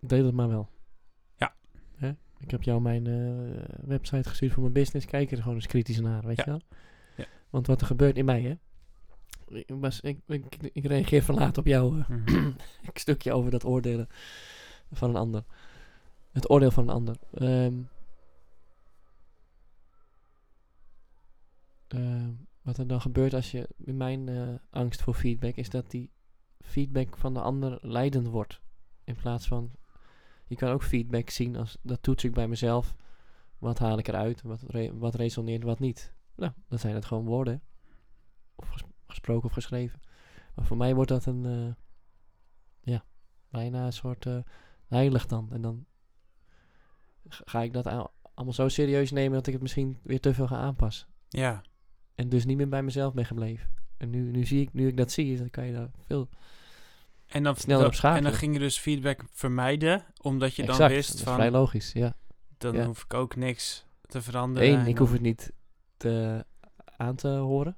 Speaker 2: Deel het maar wel.
Speaker 1: Ja.
Speaker 2: Hè? Ik heb jou mijn eh, website gestuurd voor mijn business. Kijk er gewoon eens kritisch naar, weet
Speaker 1: Ja.
Speaker 2: je wel?
Speaker 1: Ja.
Speaker 2: Want wat er gebeurt in mij, hè? Ik, was, ik, ik, ik reageer verlaat op jou. eh,
Speaker 1: Mhm.
Speaker 2: *laughs* een stukje over dat oordelen van een ander. Het oordeel van een ander. Ehm, ehm, wat er dan gebeurt als je, in mijn eh, angst voor feedback, is dat die feedback van de ander leidend wordt. In plaats van, je kan ook feedback zien als, dat toets ik bij mezelf. Wat haal ik eruit? Wat, re- wat resoneert, wat niet? Nou, dan zijn het gewoon woorden. hè. Of ges- gesproken of geschreven. Maar voor mij wordt dat een... eh, bijna een soort eh, heilig dan. En dan ga ga ik dat a- allemaal zo serieus nemen dat ik het misschien weer te veel ga aanpassen.
Speaker 1: *clears throat* ja,
Speaker 2: En dus niet meer bij mezelf ben gebleven. En nu, nu, zie ik, nu ik dat zie, dan kan je daar veel...
Speaker 1: en dan,
Speaker 2: Sneller op schakelen.
Speaker 1: en dan ging je dus feedback vermijden, omdat je dan
Speaker 2: Exact, dat
Speaker 1: wist
Speaker 2: is
Speaker 1: van,
Speaker 2: vrij logisch, ja.
Speaker 1: dan
Speaker 2: ja.
Speaker 1: hoef ik ook niks te veranderen.
Speaker 2: Eén,
Speaker 1: en
Speaker 2: ik
Speaker 1: dan
Speaker 2: hoef het niet te, aan te horen.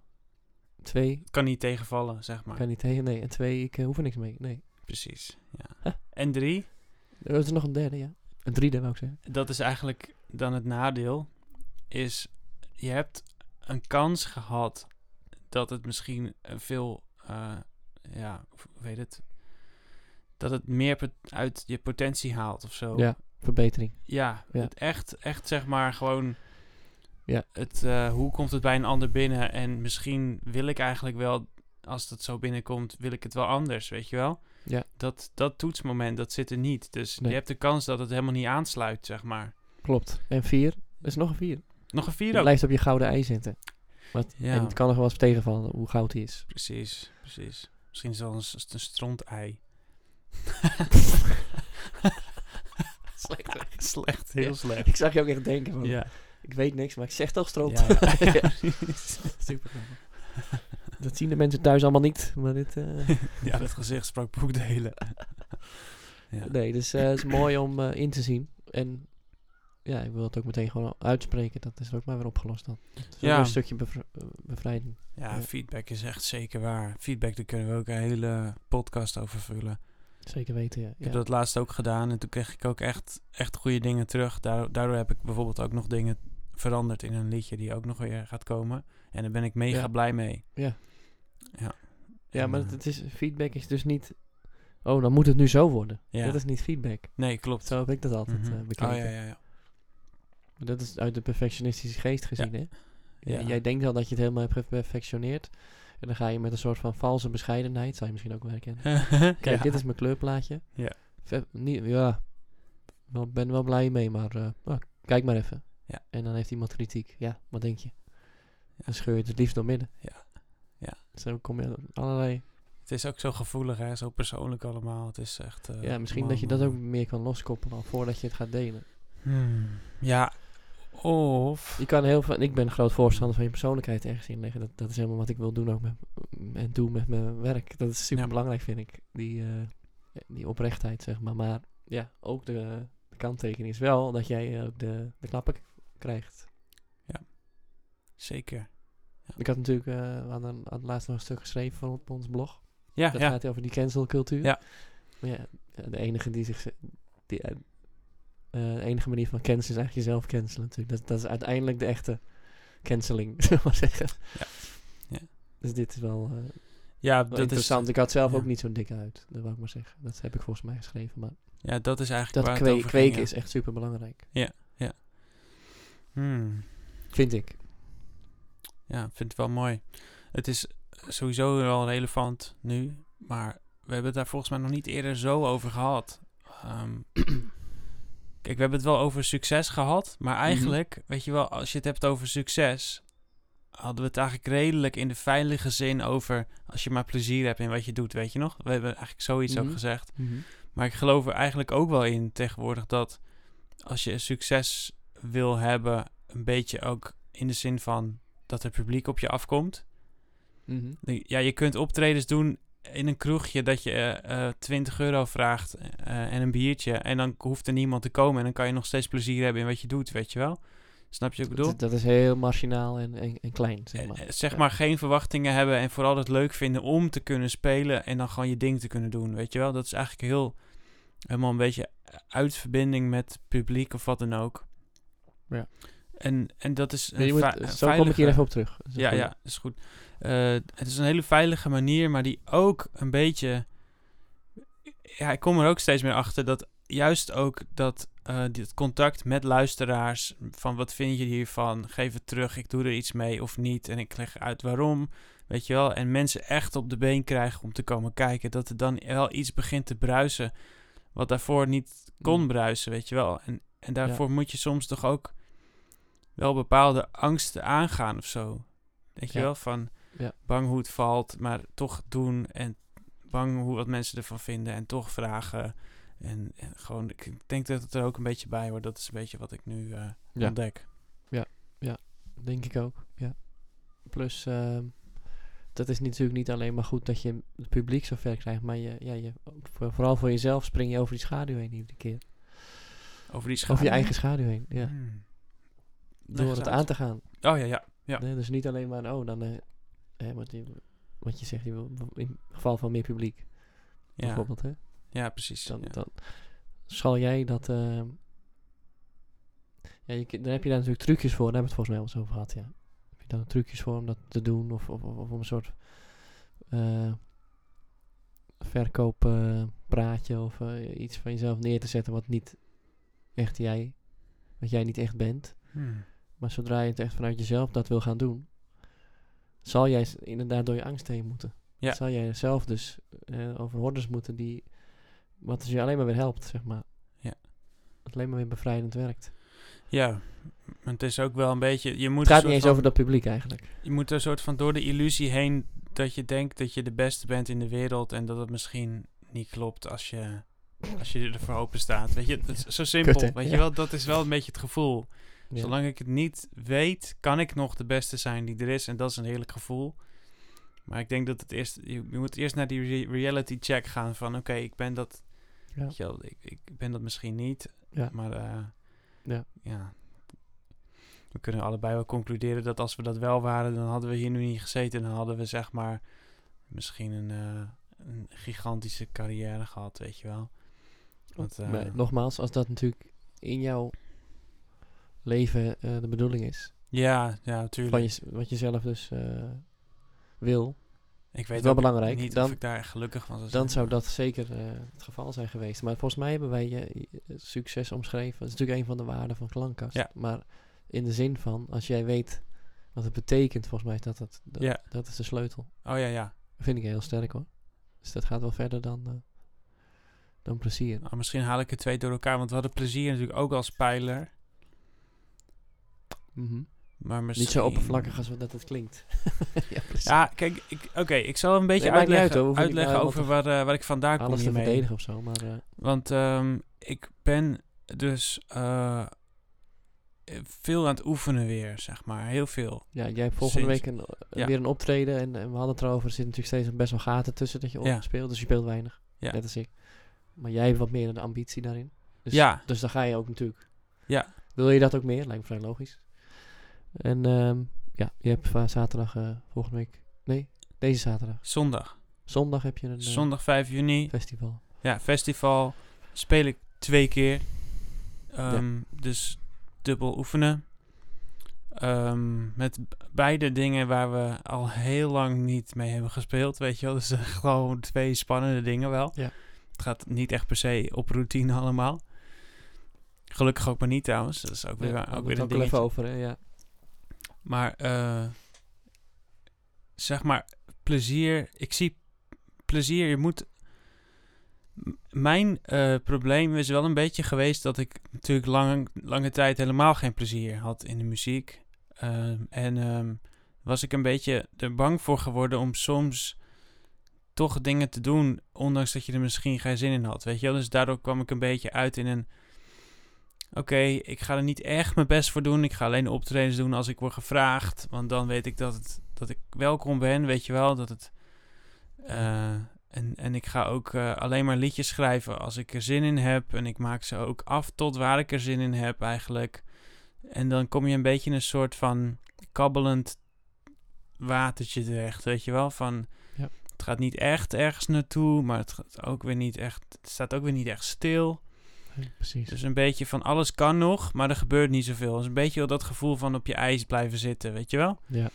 Speaker 2: Twee,
Speaker 1: kan niet tegenvallen, zeg maar.
Speaker 2: kan niet tegen, nee. En twee, ik eh, hoef er niks mee, nee.
Speaker 1: Precies, ja.
Speaker 2: Huh.
Speaker 1: En drie,
Speaker 2: Er is nog een derde, ja. Een driede, wou ik zeggen.
Speaker 1: dat is eigenlijk dan het nadeel, is je hebt een kans gehad dat het misschien eh, veel, eh, ja, hoe heet het, dat het meer pot- uit je potentie haalt of zo.
Speaker 2: Ja, verbetering.
Speaker 1: Ja,
Speaker 2: Ja.
Speaker 1: Het echt, echt zeg maar gewoon.
Speaker 2: Ja.
Speaker 1: Het, eh, hoe komt het bij een ander binnen? En misschien wil ik eigenlijk wel, als dat zo binnenkomt, wil ik het wel anders, weet je wel?
Speaker 2: Ja.
Speaker 1: Dat, dat toetsmoment, dat zit er niet. Dus
Speaker 2: Nee.
Speaker 1: je hebt de kans dat het helemaal niet aansluit, zeg maar.
Speaker 2: Klopt. En vier, er is nog een vier.
Speaker 1: Nog een vier
Speaker 2: Je
Speaker 1: ook.
Speaker 2: blijft op je gouden ei zitten. Wat,
Speaker 1: Ja.
Speaker 2: En het kan nog wel eens tegenvallen hoe goud hij is.
Speaker 1: Precies, precies. Misschien is het wel een, s- een stront-ei.
Speaker 2: Slecht.
Speaker 1: *laughs* *laughs* Slecht, heel
Speaker 2: Ja.
Speaker 1: slecht.
Speaker 2: Ik zag je ook echt denken van,
Speaker 1: *laughs* Ja.
Speaker 2: ik weet niks, maar ik zeg toch stroop.
Speaker 1: Ja, ja,
Speaker 2: *laughs*
Speaker 1: *laughs*
Speaker 2: Ja.
Speaker 1: precies.
Speaker 2: Super grappig. Dat zien de mensen thuis allemaal niet, maar dit... *laughs* eh,
Speaker 1: ja, dat gezicht sprak boekdelen. ja.
Speaker 2: Nee, dus eh, het is mooi om eh, in te zien. En ja, ik wil het ook meteen gewoon uitspreken. Dat is er ook maar weer opgelost dan. Het is ook
Speaker 1: Ja.
Speaker 2: weer een stukje bevr- eh, bevrijding.
Speaker 1: Ja,
Speaker 2: Ja.
Speaker 1: feedback is echt zeker waar. Feedback, daar kunnen we ook een hele podcast over vullen.
Speaker 2: Zeker weten, ja.
Speaker 1: Ik
Speaker 2: ja.
Speaker 1: heb dat laatst ook gedaan en toen kreeg ik ook echt, echt goede dingen terug. Daar- Daardoor heb ik bijvoorbeeld ook nog dingen veranderd in een liedje die ook nog weer gaat komen. En daar ben ik mega
Speaker 2: Ja.
Speaker 1: blij mee.
Speaker 2: Ja.
Speaker 1: Ja.
Speaker 2: ja,
Speaker 1: En,
Speaker 2: maar
Speaker 1: eh,
Speaker 2: het, het is, feedback is dus niet... Oh, dan moet het nu zo worden.
Speaker 1: eh, Ja.
Speaker 2: Dat is niet feedback.
Speaker 1: Nee, klopt.
Speaker 2: Zo heb ik dat altijd
Speaker 1: Mhm.
Speaker 2: eh, bekeken.
Speaker 1: Oh ja, ja, ja.
Speaker 2: Maar Dat is uit de perfectionistische geest gezien, hè?
Speaker 1: Ja.
Speaker 2: Jij- Jij denkt al dat je het helemaal hebt geperfectioneerd. En dan ga je met een soort van valse bescheidenheid, zou je misschien ook wel herkennen. *laughs*
Speaker 1: *laughs*
Speaker 2: Kijk,
Speaker 1: Ja.
Speaker 2: dit is mijn kleurplaatje.
Speaker 1: Ja.
Speaker 2: Ver- niet, ja. Wel, ben wel blij mee, maar eh, nou, kijk maar even.
Speaker 1: Ja.
Speaker 2: En dan heeft iemand kritiek. Ja, wat denk je? Dan scheur je het het liefst door midden.
Speaker 1: Ja. Ja.
Speaker 2: Zo kom je aan allerlei...
Speaker 1: Het is ook zo gevoelig, hè? zo persoonlijk allemaal. Het is echt. eh,
Speaker 2: ja, misschien
Speaker 1: man,
Speaker 2: dat je dat
Speaker 1: man.
Speaker 2: ook meer kan loskoppelen al voordat je het gaat delen.
Speaker 1: Hmm. Ja, of.
Speaker 2: Je kan heel veel, en ik ben een groot voorstander van je persoonlijkheid ergens inleggen. Dat, dat is helemaal wat ik wil doen ook met, en doe met mijn werk. Dat is super belangrijk, vind ik. Die, eh, die oprechtheid, zeg maar. Maar ja, ook de, de kanttekening is wel dat jij eh, ook de, de knappen k- krijgt.
Speaker 1: Zeker.
Speaker 2: Ik had natuurlijk eh, we hadden aan het laatst nog een stuk geschreven van op ons blog.
Speaker 1: Ja,
Speaker 2: dat
Speaker 1: ja.
Speaker 2: gaat over die cancelcultuur.
Speaker 1: Ja.
Speaker 2: Maar ja, de enige die zich. Die, eh, eh, de enige manier van cancelen is eigenlijk jezelf cancelen natuurlijk. Dat, dat is uiteindelijk de echte canceling, *laughs* zullen we maar zeggen.
Speaker 1: Ja. Ja.
Speaker 2: Dus dit is wel, eh, wel
Speaker 1: ja dat
Speaker 2: interessant.
Speaker 1: Is, eh,
Speaker 2: ik had zelf
Speaker 1: ja.
Speaker 2: ook niet zo'n dik uit, dat wil ik maar zeggen. Dat heb ik volgens mij geschreven. Maar
Speaker 1: ja, dat is eigenlijk
Speaker 2: dat
Speaker 1: waar het
Speaker 2: kwe-
Speaker 1: over ging,
Speaker 2: kweken
Speaker 1: ja.
Speaker 2: is echt super belangrijk,
Speaker 1: Hmm.
Speaker 2: vind ik.
Speaker 1: Ja, ik vind het wel mooi. Het is sowieso wel relevant nu, maar we hebben het daar volgens mij nog niet eerder zo over gehad. Ehm, *clears throat* kijk, we hebben het wel over succes gehad, maar eigenlijk, weet je wel, als je het hebt over succes, hadden we het eigenlijk redelijk in de veilige zin over als je maar plezier hebt in wat je doet, weet je nog? We hebben eigenlijk zoiets
Speaker 2: Mhm.
Speaker 1: ook gezegd. Maar ik geloof er eigenlijk ook wel in tegenwoordig dat als je succes wil hebben, een beetje ook in de zin van dat er publiek op je afkomt.
Speaker 2: Mhm.
Speaker 1: Ja, je kunt optredens doen in een kroegje dat je eh, eh, 20 euro vraagt eh, en een biertje. En dan hoeft er niemand te komen en dan kan je nog steeds plezier hebben in wat je doet, weet je wel? Snap je wat ik bedoel?
Speaker 2: Dat, dat is heel marginaal en, en, en klein, zeg maar.
Speaker 1: Eh, eh, zeg maar geen verwachtingen hebben en vooral het leuk vinden om te kunnen spelen en dan gewoon je ding te kunnen doen. Weet je wel, dat is eigenlijk heel helemaal een beetje uit verbinding met publiek of wat dan ook.
Speaker 2: Ja.
Speaker 1: En, en dat is
Speaker 2: Maar je
Speaker 1: een
Speaker 2: moet-
Speaker 1: va- een
Speaker 2: zo kom ik hier
Speaker 1: veilige-
Speaker 2: even op terug. Dat is een
Speaker 1: ja,
Speaker 2: goeie.
Speaker 1: ja, is goed. Eh, het is een hele veilige manier, maar die ook een beetje. Ja, ik kom er ook steeds meer achter dat juist ook dat eh, dit contact met luisteraars. Van wat vind je hiervan? Geef het terug, ik doe er iets mee of niet. En ik leg uit waarom. Weet je wel? En mensen echt op de been krijgen om te komen kijken. Dat er dan wel iets begint te bruisen. Wat daarvoor niet
Speaker 2: Mhm. Mm.
Speaker 1: kon bruisen, weet je wel. En, en daarvoor moet je soms toch ook wel bepaalde angsten aangaan of zo. Weet je
Speaker 2: Ja.
Speaker 1: wel, van
Speaker 2: Ja.
Speaker 1: bang hoe het valt, maar toch doen en bang hoe wat mensen ervan vinden en toch vragen. En, en gewoon, ik denk dat het er ook een beetje bij hoort. Dat is een beetje wat ik nu eh,
Speaker 2: Ja.
Speaker 1: ontdek.
Speaker 2: Denk ik ook, ja. Plus, ehm, dat is natuurlijk niet alleen maar goed dat je het publiek zover krijgt, maar je, ja, je, voor- vooral voor jezelf spring je over die schaduw heen iedere keer.
Speaker 1: Over die schaduw.
Speaker 2: Over je eigen schaduw heen, ja.
Speaker 1: Hmm.
Speaker 2: Door
Speaker 1: eens
Speaker 2: het
Speaker 1: uit.
Speaker 2: aan te gaan.
Speaker 1: Oh ja, ja. Ja.
Speaker 2: Nee, dus niet alleen maar, oh, dan, eh, hè, wat, je, wat je zegt, je wil- in het geval van meer publiek,
Speaker 1: Ja,
Speaker 2: bijvoorbeeld, hè.
Speaker 1: ja precies.
Speaker 2: Dus Dan,
Speaker 1: ja.
Speaker 2: dan zal jij dat... ehm, ja, je, ki- dan heb je daar natuurlijk trucjes voor. Daar hebben we het volgens mij al eens over gehad, ja. Heb je dan trucjes voor om dat te doen? Of, of, of, of om een soort eh verkooppraatje of eh, iets van jezelf neer te zetten wat niet echt jij... Wat jij niet echt bent.
Speaker 1: Hmm.
Speaker 2: Maar zodra je het echt vanuit jezelf dat wil gaan doen... Zal jij s- inderdaad door je angst heen moeten.
Speaker 1: Ja.
Speaker 2: Zal jij zelf dus eh, over hordes moeten die... Wat dus je alleen maar weer helpt, zeg maar.
Speaker 1: Ja.
Speaker 2: Wat alleen maar weer bevrijdend werkt.
Speaker 1: Ja, maar het is ook wel een beetje... Je moet
Speaker 2: Het gaat
Speaker 1: een
Speaker 2: niet eens
Speaker 1: soort
Speaker 2: over dat publiek eigenlijk.
Speaker 1: Je moet er een soort van door de illusie heen dat je denkt dat je de beste bent in de wereld en dat het misschien niet klopt als je, als je ervoor open staat. Weet je, dat is zo simpel.
Speaker 2: Kut, hè?
Speaker 1: weet
Speaker 2: Ja.
Speaker 1: je wel, dat is wel een beetje het gevoel.
Speaker 2: Ja.
Speaker 1: Zolang ik het niet weet, kan ik nog de beste zijn die er is en dat is een heerlijk gevoel. Maar ik denk dat het eerst, je, je moet eerst naar die re- reality check gaan van oké, ik ben dat,
Speaker 2: Ja.
Speaker 1: weet je wel, ik, ik ben dat misschien niet,
Speaker 2: Ja.
Speaker 1: maar eh,
Speaker 2: Ja.
Speaker 1: ja. We kunnen allebei wel concluderen dat als we dat wel waren, dan hadden we hier nu niet gezeten. Dan hadden we zeg maar misschien een, eh, een gigantische carrière gehad, weet je wel. Want, eh,
Speaker 2: Maar nogmaals, als dat natuurlijk in jouw leven eh, de bedoeling is.
Speaker 1: Ja, ja, natuurlijk.
Speaker 2: Van je, wat je zelf dus eh, wil.
Speaker 1: Ik
Speaker 2: is
Speaker 1: weet
Speaker 2: wel
Speaker 1: ook
Speaker 2: belangrijk,
Speaker 1: niet of
Speaker 2: dan-
Speaker 1: ik daar echt gelukkig van zou zijn.
Speaker 2: Dus Dan zou dat zeker eh, het geval zijn geweest. Maar volgens mij hebben wij je succes omschreven. Dat is natuurlijk een van de waarden van klankkast.
Speaker 1: Ja.
Speaker 2: Maar in de zin van, als jij weet wat het betekent, volgens mij is dat, dat, dat,
Speaker 1: Ja.
Speaker 2: dat is de sleutel.
Speaker 1: Oh ja, ja.
Speaker 2: Dat vind ik heel sterk hoor. Dus dat gaat wel verder dan, eh, dan plezier.
Speaker 1: Nou, misschien haal ik het twee door elkaar, want we hadden plezier natuurlijk ook als pijler.
Speaker 2: Mhm.
Speaker 1: Maar misschien...
Speaker 2: Niet zo oppervlakkig als wat dat het klinkt. ja, precies.
Speaker 1: Dus *laughs* Ja, kijk, ik- oké, ik zal een beetje
Speaker 2: Nee, maakt niet
Speaker 1: uitleggen,
Speaker 2: uit, hoor, hoef je niet
Speaker 1: uitleggen
Speaker 2: nou
Speaker 1: over waar, eh, waar ik vandaan kom
Speaker 2: Alles te
Speaker 1: hiermee.
Speaker 2: verdedigen of zo, maar... eh,
Speaker 1: Want ehm, ik ben dus eh, veel aan het oefenen weer, zeg maar. Heel veel.
Speaker 2: Ja, jij hebt volgende
Speaker 1: Sinds-
Speaker 2: week een, eh,
Speaker 1: ja.
Speaker 2: weer een optreden. En, en we hadden het erover. Er zitten natuurlijk steeds nog best wel gaten tussen dat je op
Speaker 1: Ja.
Speaker 2: speelt. Dus je speelt weinig.
Speaker 1: Ja.
Speaker 2: Net als ik. Maar jij hebt wat meer de ambitie daarin. Dus,
Speaker 1: Ja.
Speaker 2: Dus dan ga je ook natuurlijk.
Speaker 1: Ja.
Speaker 2: Wil je dat ook meer? Lijkt me vrij logisch. En ehm, ja, je hebt va- zaterdag eh, volgende week. Nee, deze zaterdag.
Speaker 1: Zondag.
Speaker 2: Zondag heb je een eh,
Speaker 1: Zondag 5 juni.
Speaker 2: festival.
Speaker 1: Ja, festival. Speel ik twee keer. Ehm, Dus dubbel oefenen. Ehm, met b- beide dingen waar we al heel lang niet mee hebben gespeeld, weet je wel. Dus eh, gewoon twee spannende dingen wel.
Speaker 2: Ja.
Speaker 1: Het gaat niet echt per se op routine allemaal. Gelukkig ook maar niet trouwens. Dat is ook weer,
Speaker 2: Ja,
Speaker 1: wa-
Speaker 2: daar
Speaker 1: ook
Speaker 2: moeten
Speaker 1: weer
Speaker 2: we
Speaker 1: een
Speaker 2: wel even
Speaker 1: dingetje.
Speaker 2: over, hè, ja.
Speaker 1: Maar eh, zeg maar, plezier. Ik zie plezier. Je moet. M- Mijn eh, probleem is wel een beetje geweest dat ik natuurlijk lang, lange tijd helemaal geen plezier had in de muziek. Ehm, en ehm, was ik een beetje er bang voor geworden om soms toch dingen te doen, ondanks dat je er misschien geen zin in had. Weet je wel? Dus daardoor kwam ik een beetje uit in een oké, ik ga er niet echt mijn best voor doen. Ik ga alleen optredens doen als ik word gevraagd. Want dan weet ik dat, het, dat ik welkom ben, weet je wel. Dat het, eh, en, en ik ga ook eh, alleen maar liedjes schrijven als ik er zin in heb. En ik maak ze ook af tot waar ik er zin in heb eigenlijk. En dan kom je een beetje in een soort van kabbelend watertje terecht, weet je wel. Van,
Speaker 2: Ja.
Speaker 1: Het gaat niet echt ergens naartoe, maar het, gaat ook weer niet echt, het staat ook weer niet echt stil.
Speaker 2: precies.
Speaker 1: Dus een beetje van alles kan nog, maar er gebeurt niet zoveel. Dus een beetje dat gevoel van op je ijs blijven zitten, weet je wel?
Speaker 2: ja.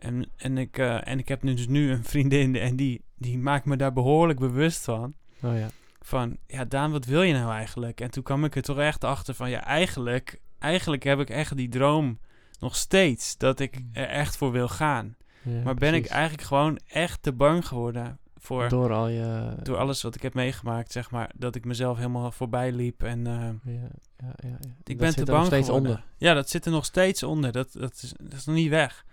Speaker 1: En, en, ik, eh, en ik heb nu dus nu een vriendin en die, die maakt me daar behoorlijk bewust van.
Speaker 2: Oh ja.
Speaker 1: Van, ja Daan, wat wil je nou eigenlijk? En toen kwam ik er toch echt achter van, ja eigenlijk, eigenlijk heb ik echt die droom nog steeds. Dat ik er echt voor wil gaan.
Speaker 2: Mm. Ja,
Speaker 1: maar ben ik
Speaker 2: precies.
Speaker 1: eigenlijk gewoon echt te bang geworden voor...
Speaker 2: Door al je...
Speaker 1: Door alles wat ik heb meegemaakt, zeg maar, dat ik mezelf helemaal voorbij liep en... eh,
Speaker 2: Ja, ja, ja, ja.
Speaker 1: Ik
Speaker 2: Dat
Speaker 1: ben
Speaker 2: zit
Speaker 1: te
Speaker 2: er
Speaker 1: bang
Speaker 2: nog steeds
Speaker 1: geworden.
Speaker 2: onder.
Speaker 1: Ja, dat zit er nog steeds onder. Dat, dat, is, dat is nog niet weg.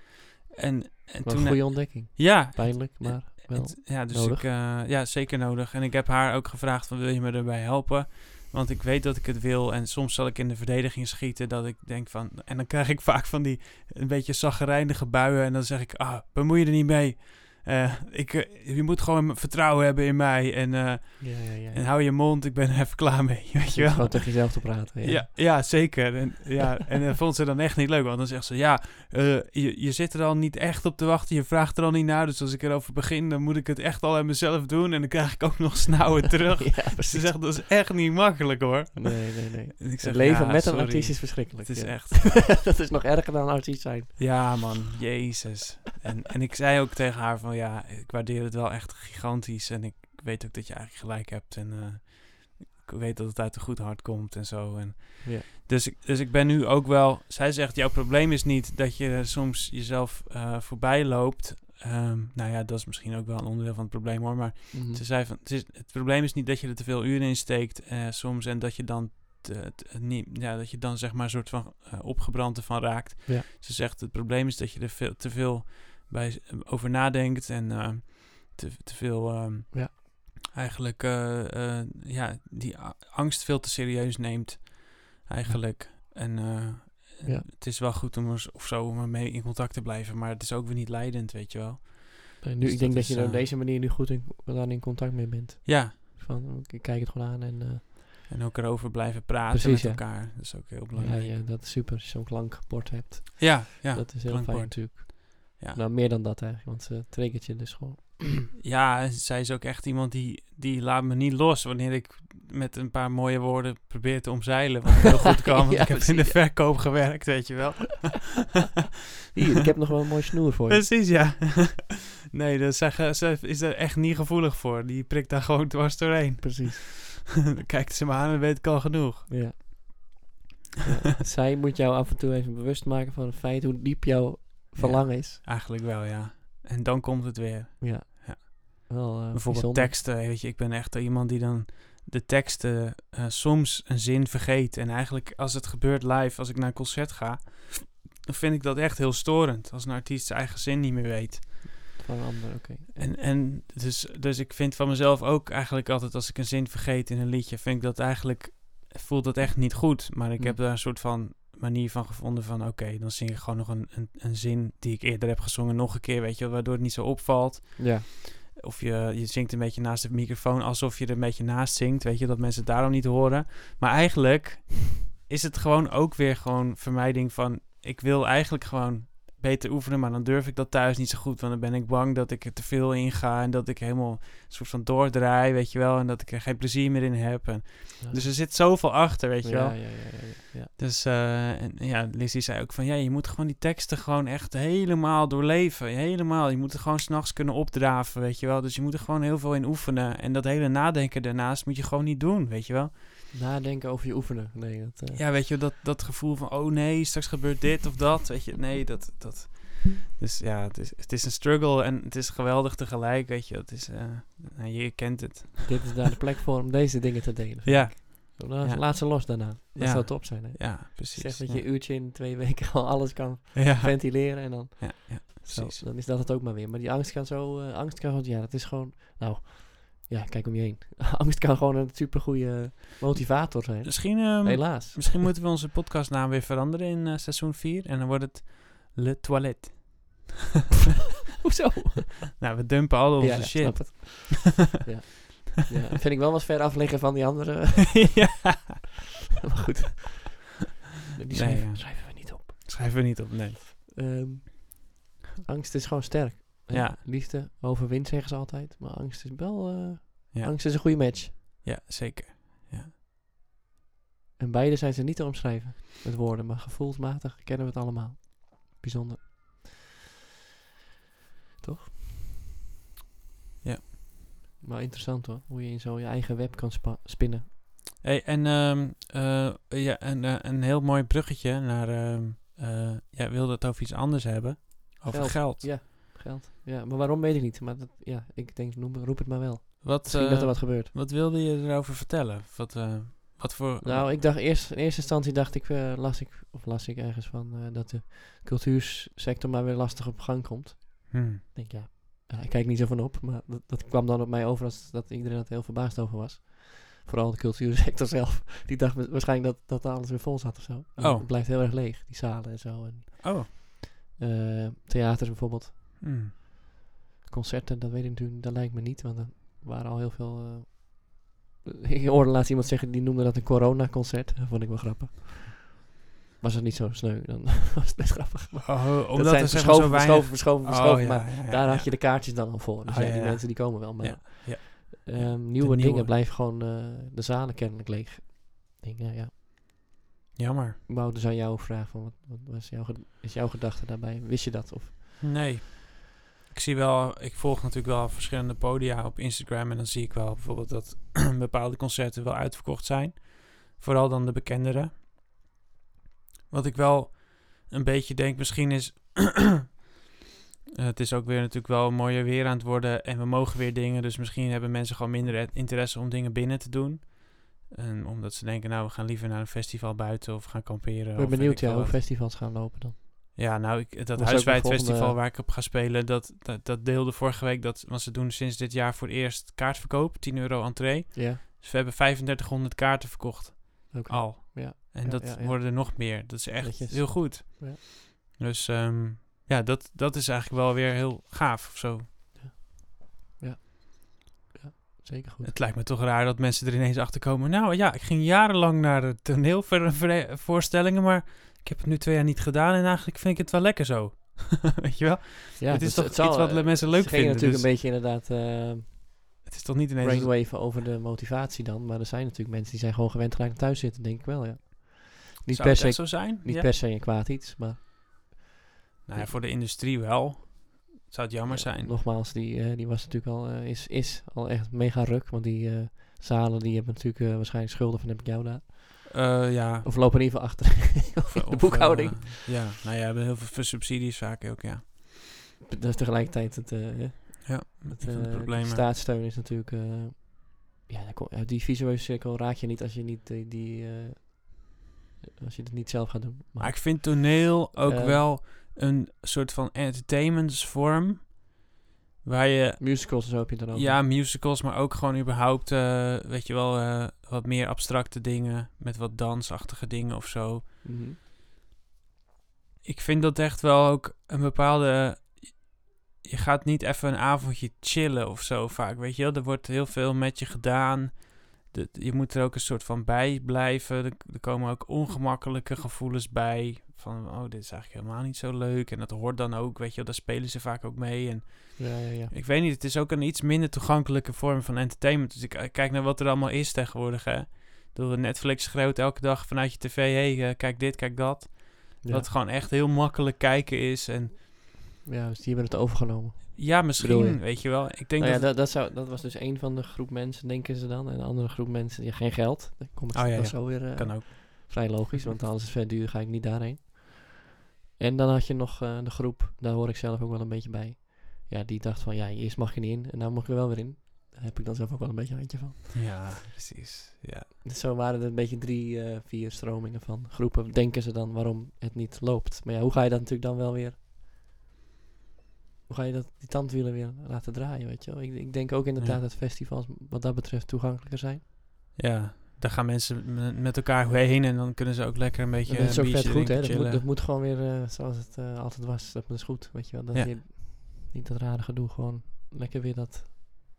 Speaker 1: En, en
Speaker 2: Wat
Speaker 1: toen...
Speaker 2: een goede ontdekking.
Speaker 1: ja,
Speaker 2: Pijnlijk, maar wel.
Speaker 1: het- ja, dus
Speaker 2: nodig.
Speaker 1: ik... eh, ja, zeker nodig. En ik heb haar ook gevraagd van wil je me erbij helpen? Want ik weet dat ik het wil. En soms zal ik in de verdediging schieten dat ik denk van... En dan krijg ik *laughs* vaak van die een beetje zaggerijnige buien. En dan zeg ik, ah, bemoei je er niet mee. Eh, ik, eh, je moet gewoon vertrouwen hebben in mij. En, eh,
Speaker 2: Ja, ja, ja.
Speaker 1: en hou je mond, ik ben er even klaar mee. *laughs* Weet je
Speaker 2: Om
Speaker 1: wel?
Speaker 2: Gewoon tegen jezelf te praten. Ja.
Speaker 1: Ja, ja zeker. En, ja, en dat vond ze dan echt niet leuk. Want dan zegt ze, ja, eh, je, je zit er al niet echt op te wachten. Je vraagt er al niet naar. Dus als ik erover begin, dan moet ik het echt al aan mezelf doen. En dan krijg ik ook nog snauwen terug.
Speaker 2: *laughs* Ja,
Speaker 1: Ze
Speaker 2: precies.
Speaker 1: zegt, dat is echt niet makkelijk hoor.
Speaker 2: Nee, nee, nee.
Speaker 1: En ik zeg,
Speaker 2: het leven
Speaker 1: ja,
Speaker 2: met
Speaker 1: sorry.
Speaker 2: een artiest is verschrikkelijk.
Speaker 1: Het is
Speaker 2: ja.
Speaker 1: echt...
Speaker 2: *laughs* dat is nog erger dan een artiest zijn.
Speaker 1: Ja man, jezus. En, en ik zei ook tegen haar van, ja, ik waardeer het wel echt gigantisch. En ik weet ook dat je eigenlijk gelijk hebt. En eh, ik weet dat het uit een goed hart komt en zo. En
Speaker 2: Ja.
Speaker 1: Dus ik, dus ik ben nu ook wel. Zij zegt: jouw probleem is niet dat je soms jezelf eh, voorbij loopt. Ehm, nou ja, dat is misschien ook wel een onderdeel van het probleem hoor. Maar
Speaker 2: Mhm.
Speaker 1: ze zei: van, het, is, het probleem is niet dat je er te veel uren in steekt eh, soms en dat je dan. te- te- niet, ja, dat je dan zeg maar een soort van eh, opgebrand ervan raakt.
Speaker 2: Ja.
Speaker 1: Ze zegt: het probleem is dat je er veel, te veel bij, over nadenkt en ehm, te, te veel. ehm,
Speaker 2: Ja.
Speaker 1: Eigenlijk eh, eh, ja, die a- angst veel te serieus neemt eigenlijk. En eh,
Speaker 2: Ja.
Speaker 1: het is wel goed om er, of zo om ermee in contact te blijven, maar het is ook weer niet leidend, weet je wel.
Speaker 2: Nee, nu,
Speaker 1: Dus dat
Speaker 2: ik denk dat
Speaker 1: is,
Speaker 2: je er op
Speaker 1: eh,
Speaker 2: deze manier nu goed in, dan in contact mee bent.
Speaker 1: Ja,
Speaker 2: Van, ik kijk het gewoon aan en eh,
Speaker 1: En ook erover blijven praten
Speaker 2: Precies,
Speaker 1: met
Speaker 2: ja.
Speaker 1: elkaar. Dat is ook heel
Speaker 2: Ja,
Speaker 1: belangrijk. Ja,
Speaker 2: ja, dat is super als je zo'n klankbord hebt.
Speaker 1: ja, ja.
Speaker 2: dat is heel fijn
Speaker 1: klankbord.
Speaker 2: natuurlijk.
Speaker 1: Ja.
Speaker 2: Nou, meer dan dat eigenlijk, want ze triggert je dus *laughs* gewoon.
Speaker 1: en zij is ook echt iemand die, die laat me niet los wanneer ik met een paar mooie woorden probeer te omzeilen. Wat heel goed
Speaker 2: *laughs*
Speaker 1: kan, want
Speaker 2: Ja,
Speaker 1: ik heb in de
Speaker 2: precies,
Speaker 1: verkoop gewerkt, weet je wel.
Speaker 2: Hier, ik heb nog wel een mooi snoer voor je.
Speaker 1: Precies, ja. *laughs* nee, dat zij, ge- zij is er echt niet gevoelig voor. Die prikt daar gewoon dwars doorheen. *laughs*
Speaker 2: Precies.
Speaker 1: Dan kijkt ze me aan en weet ik al genoeg.
Speaker 2: Ja. Ja, *laughs* Zij moet jou af en toe even bewust maken van het feit hoe diep jouw verlangen is.
Speaker 1: Eigenlijk wel, ja. En dan komt het weer.
Speaker 2: Ja.
Speaker 1: Ja.
Speaker 2: Wel, eh,
Speaker 1: Bijvoorbeeld
Speaker 2: bijzonder.
Speaker 1: teksten. Weet je, ik ben echt iemand die dan de teksten eh, soms een zin vergeet. En eigenlijk als het gebeurt live, als ik naar een concert ga, dan vind ik dat echt heel storend. Als een artiest zijn eigen zin niet meer weet.
Speaker 2: Van een ander, oké.
Speaker 1: En, en dus, dus ik vind van mezelf ook eigenlijk altijd als ik een zin vergeet in een liedje, vind ik dat eigenlijk, voelt dat echt niet goed. Maar ik
Speaker 2: Hmm.
Speaker 1: heb daar een soort van manier van gevonden van oké, dan zing ik gewoon nog een, een, een zin die ik eerder heb gezongen nog een keer, weet je, wel, waardoor het niet zo opvalt.
Speaker 2: Ja,
Speaker 1: Of je, je zingt een beetje naast de microfoon alsof je er een beetje naast zingt, weet je, dat mensen het daarom niet horen. Maar eigenlijk is het gewoon ook weer gewoon vermijding van, ik wil eigenlijk gewoon beter oefenen, maar dan durf ik dat thuis niet zo goed, want dan ben ik bang dat ik er te veel in ga en dat ik helemaal een soort van doordraai, weet je wel, en dat ik er geen plezier meer in heb. En,
Speaker 2: Ja.
Speaker 1: dus er zit zoveel achter, weet je wel.
Speaker 2: Ja, ja, ja, ja, ja, ja.
Speaker 1: Dus eh, en, ja, Lizzie zei ook van ja, je moet gewoon die teksten gewoon echt helemaal doorleven. Helemaal. Je moet er gewoon s'nachts kunnen opdraven, weet je wel. Dus je moet er gewoon heel veel in oefenen. En dat hele nadenken daarnaast moet je gewoon niet doen, weet je wel.
Speaker 2: Nadenken over je oefenen. Nee, dat, eh,
Speaker 1: Ja, weet je, wel, dat, dat gevoel van oh nee, straks gebeurt dit of dat. Weet je, nee, dat. dat. Dus ja, het is, het is een struggle en het is geweldig tegelijk, weet je. Het is, eh, nou, je kent het.
Speaker 2: dit is daar de plek voor om deze dingen te delen.
Speaker 1: Ja,
Speaker 2: Nou,
Speaker 1: *laughs* Ja.
Speaker 2: Laat ze los daarna. Dat
Speaker 1: Ja.
Speaker 2: zou top zijn, hè?
Speaker 1: ja, precies.
Speaker 2: Zeg dat
Speaker 1: ja.
Speaker 2: je een uurtje in twee *laughs* weken al alles kan
Speaker 1: Ja,
Speaker 2: ventileren en dan,
Speaker 1: ja, ja,
Speaker 2: zo,
Speaker 1: precies.
Speaker 2: dan is dat het ook maar weer. Maar die angst kan zo, eh, angst kan gewoon, ja, dat is gewoon, nou, ja, kijk om je heen. *laughs* angst kan gewoon een supergoeie motivator zijn.
Speaker 1: Misschien. ehm, *laughs*
Speaker 2: Helaas.
Speaker 1: Misschien moeten we onze podcastnaam weer veranderen in eh, seizoen 4. En dan wordt het Le Toilet.
Speaker 2: Hoezo?
Speaker 1: Nou, we dumpen al onze
Speaker 2: ja, ik
Speaker 1: shit.
Speaker 2: snap het. ja. ja, vind ik wel wat ver afliggen van die andere.
Speaker 1: *laughs*
Speaker 2: *laughs*
Speaker 1: ja.
Speaker 2: maar goed. Die schrijven,
Speaker 1: ja.
Speaker 2: schrijven we niet op.
Speaker 1: Schrijven we niet op, nee.
Speaker 2: Ehm, angst is gewoon sterk. hè?
Speaker 1: Ja.
Speaker 2: Liefde overwint, zeggen ze altijd. Maar angst is wel... eh,
Speaker 1: Ja.
Speaker 2: Angst is een goede match.
Speaker 1: Ja, zeker.
Speaker 2: En beide zijn ze niet te omschrijven met woorden, maar gevoelsmatig kennen we het allemaal. Bijzonder. Toch?
Speaker 1: Ja.
Speaker 2: Maar interessant hoor, hoe je in zo je eigen web kan spa- spinnen.
Speaker 1: Hey, en ehm, eh, ja, en, eh, een heel mooi bruggetje naar... ehm eh, ja, wilde het over iets anders hebben. Over
Speaker 2: Geld.
Speaker 1: geld.
Speaker 2: Ja, geld. Ja, maar waarom weet ik niet. Maar dat, ja, ik denk, noem, roep het maar wel.
Speaker 1: Wat,
Speaker 2: Misschien dat er
Speaker 1: eh,
Speaker 2: wat gebeurt.
Speaker 1: wat wilde je erover vertellen? Wat, eh, wat voor...
Speaker 2: Nou, ik dacht eerst, in eerste instantie dacht ik, eh, las ik, of las ik ergens van, eh, dat de cultuursector maar weer lastig op gang komt.
Speaker 1: Hmm.
Speaker 2: Ik denk, ja, ja, ik kijk niet zo van op, maar dat, dat kwam dan op mij over als dat iedereen er heel verbaasd over was. Vooral de *laughs* cultuursector zelf. Die dacht wa- waarschijnlijk dat, dat alles weer vol zat of zo. Maar
Speaker 1: Oh.
Speaker 2: Het blijft heel erg leeg, die zalen en zo. En,
Speaker 1: Oh.
Speaker 2: eh, theaters bijvoorbeeld,
Speaker 1: Hmm.
Speaker 2: concerten, dat weet ik natuurlijk, dat lijkt me niet, want er waren al heel veel... eh, *laughs* ik hoorde laatst iemand zeggen, die noemde dat een coronaconcert. Dat vond ik wel grappig. Was het niet zo sneu, dan *laughs* was het best grappig.
Speaker 1: Oh, omdat
Speaker 2: dat zijn
Speaker 1: er zeg maar
Speaker 2: verschoven,
Speaker 1: zo weinig...
Speaker 2: verschoven, verschoven,
Speaker 1: Oh,
Speaker 2: verschoven,
Speaker 1: ja,
Speaker 2: maar
Speaker 1: ja, ja,
Speaker 2: daar
Speaker 1: ja.
Speaker 2: had je de kaartjes dan al voor. Dus
Speaker 1: Oh,
Speaker 2: ja,
Speaker 1: ja,
Speaker 2: die
Speaker 1: ja.
Speaker 2: mensen die komen wel. Maar
Speaker 1: Ja, ja,
Speaker 2: ehm,
Speaker 1: ja.
Speaker 2: nieuwe
Speaker 1: De
Speaker 2: dingen
Speaker 1: nieuwe.
Speaker 2: blijven gewoon eh, de zalen kennelijk leeg. Ik denk, ja, ja.
Speaker 1: Jammer.
Speaker 2: Ik wou dus aan jou vragen, van, wat, wat was jouw, ged- is jouw gedachte daarbij? Wist je dat? Of,
Speaker 1: Nee. Ik zie wel, ik volg natuurlijk wel verschillende podia op Instagram. En dan zie ik wel bijvoorbeeld dat *clears throat* bepaalde concerten wel uitverkocht zijn. Vooral dan de bekendere. Wat ik wel een beetje denk, misschien is. *clears throat* eh, het is ook weer natuurlijk wel mooier weer aan het worden. En we mogen weer dingen. Dus misschien hebben mensen gewoon minder het- interesse om dingen binnen te doen. En omdat ze denken, nou, we gaan liever naar een festival buiten of gaan kamperen.
Speaker 2: ik
Speaker 1: of
Speaker 2: ben
Speaker 1: weet
Speaker 2: benieuwd
Speaker 1: veel
Speaker 2: ja, hoe
Speaker 1: wat.
Speaker 2: festivals gaan lopen dan.
Speaker 1: Ja, nou, ik, dat
Speaker 2: ook de
Speaker 1: huiswijd
Speaker 2: volgende-
Speaker 1: festival waar ik op ga spelen, dat, dat, dat deelde vorige week. Dat, want ze doen sinds dit jaar voor het eerst kaartverkoop, 10 euro entree.
Speaker 2: Ja,
Speaker 1: Dus we hebben 3500 kaarten verkocht,
Speaker 2: oké.
Speaker 1: al.
Speaker 2: Ja,
Speaker 1: En
Speaker 2: ja,
Speaker 1: dat
Speaker 2: ja, ja.
Speaker 1: worden er nog meer. Dat is echt
Speaker 2: Netjes.
Speaker 1: heel goed.
Speaker 2: Ja.
Speaker 1: Dus ehm, ja, dat, dat is eigenlijk wel weer heel gaaf of zo.
Speaker 2: Zeker goed.
Speaker 1: Het lijkt me toch raar dat mensen er ineens achter komen. Nou ja, ik ging jarenlang naar de toneelvoorstellingen, maar ik heb het nu twee jaar niet gedaan en eigenlijk vind ik het wel lekker zo. *laughs* Weet je wel?
Speaker 2: ja,
Speaker 1: het is
Speaker 2: dat-
Speaker 1: toch iets wat
Speaker 2: eh,
Speaker 1: le- mensen
Speaker 2: het
Speaker 1: leuk
Speaker 2: ging
Speaker 1: vinden,
Speaker 2: natuurlijk
Speaker 1: dus-
Speaker 2: een beetje inderdaad eh
Speaker 1: Het is toch niet ineens.
Speaker 2: brainwave over de motivatie dan. Maar er zijn natuurlijk mensen die zijn gewoon gewend geraakt thuis zitten, denk ik wel, ja. Niet,
Speaker 1: Zou
Speaker 2: per
Speaker 1: het
Speaker 2: se,
Speaker 1: echt zo zijn?
Speaker 2: niet
Speaker 1: Ja.
Speaker 2: per se een kwaad iets, maar...
Speaker 1: Nou ja, voor de industrie wel. Zou het jammer
Speaker 2: Ja,
Speaker 1: zijn.
Speaker 2: Nogmaals, die, eh, die was natuurlijk al, eh, is, is al echt mega ruk. Want die eh, zalen die hebben natuurlijk eh, waarschijnlijk schulden van heb ik jou daar.
Speaker 1: Eh, ja.
Speaker 2: Of lopen in ieder geval achter *laughs*
Speaker 1: Of-
Speaker 2: in de
Speaker 1: of,
Speaker 2: boekhouding.
Speaker 1: eh, ja, nou ja, we hebben heel veel subsidies vaak ook, ja.
Speaker 2: Dat is tegelijkertijd het, eh, hè,
Speaker 1: Ja,
Speaker 2: het
Speaker 1: eh, een van de
Speaker 2: eh,
Speaker 1: problemen.
Speaker 2: staatssteun is natuurlijk... eh, ja, daar kom- uit die visueuze cirkel raak je niet als je niet die... die eh, als je het niet zelf gaat doen.
Speaker 1: Maar ik vind toneel ook
Speaker 2: Eh.
Speaker 1: wel een soort van entertainmentsvorm. Waar je,
Speaker 2: musicals en zo heb je het dan ook.
Speaker 1: ja, musicals, maar ook gewoon überhaupt, eh, weet je wel, eh, wat meer abstracte dingen. Met wat dansachtige dingen of zo.
Speaker 2: Mhm.
Speaker 1: ik vind dat echt wel ook een bepaalde. Je gaat niet even een avondje chillen of zo vaak. Weet je wel, er wordt heel veel met je gedaan. De- je moet er ook een soort van bij blijven. Er, er komen ook ongemakkelijke gevoelens bij. Van, oh, dit is eigenlijk helemaal niet zo leuk. En dat hoort dan ook, weet je wel, daar spelen ze vaak ook mee. En
Speaker 2: ja, ja, ja.
Speaker 1: ik weet niet, het is ook een iets minder toegankelijke vorm van entertainment. Dus ik eh, kijk naar wat er allemaal is tegenwoordig, hè. Ik bedoel, Netflix schreeuwt elke dag vanuit je tv, hey, eh, kijk dit, kijk dat.
Speaker 2: Ja.
Speaker 1: Dat gewoon echt heel makkelijk kijken is. En
Speaker 2: ja, dus die hebben het overgenomen.
Speaker 1: ja,
Speaker 2: Bedoel je?
Speaker 1: misschien, weet je wel. Ik denk
Speaker 2: Nou ja,
Speaker 1: dat...
Speaker 2: dat, dat, zou, dat was dus één van de groep mensen, denken ze dan. En de andere groep mensen, ja, geen geld. Dan kom ik
Speaker 1: Oh, ja,
Speaker 2: dan
Speaker 1: ja.
Speaker 2: zo weer eh,
Speaker 1: kan ook.
Speaker 2: vrij logisch, want alles is het vet duur, ga ik niet daarheen. En dan had je nog eh, de groep, daar hoor ik zelf ook wel een beetje bij. Ja, die dacht van, ja, eerst mag je niet in en nou mag ik er wel weer in. Daar heb ik dan zelf ook wel een beetje een handje van.
Speaker 1: Ja, precies. Ja.
Speaker 2: Dus zo waren er een beetje drie, eh, vier stromingen van groepen. Denken ze dan waarom het niet loopt. Maar ja, hoe ga je dat natuurlijk dan wel weer... Hoe ga je dat, die tandwielen weer laten draaien, weet je wel? Ik, ik denk ook inderdaad
Speaker 1: Ja.
Speaker 2: dat festivals wat dat betreft toegankelijker zijn.
Speaker 1: ja, daar gaan mensen m- met elkaar heen en dan kunnen ze ook lekker een beetje
Speaker 2: Maar dat is
Speaker 1: een
Speaker 2: ook vet
Speaker 1: biertje
Speaker 2: goed, hè?
Speaker 1: drinken,
Speaker 2: Dat moet,
Speaker 1: chillen.
Speaker 2: dat moet gewoon weer eh, zoals het eh, altijd was. Dat is goed, weet je wel. Dat
Speaker 1: Ja.
Speaker 2: je niet dat rare gedoe, gewoon lekker weer dat...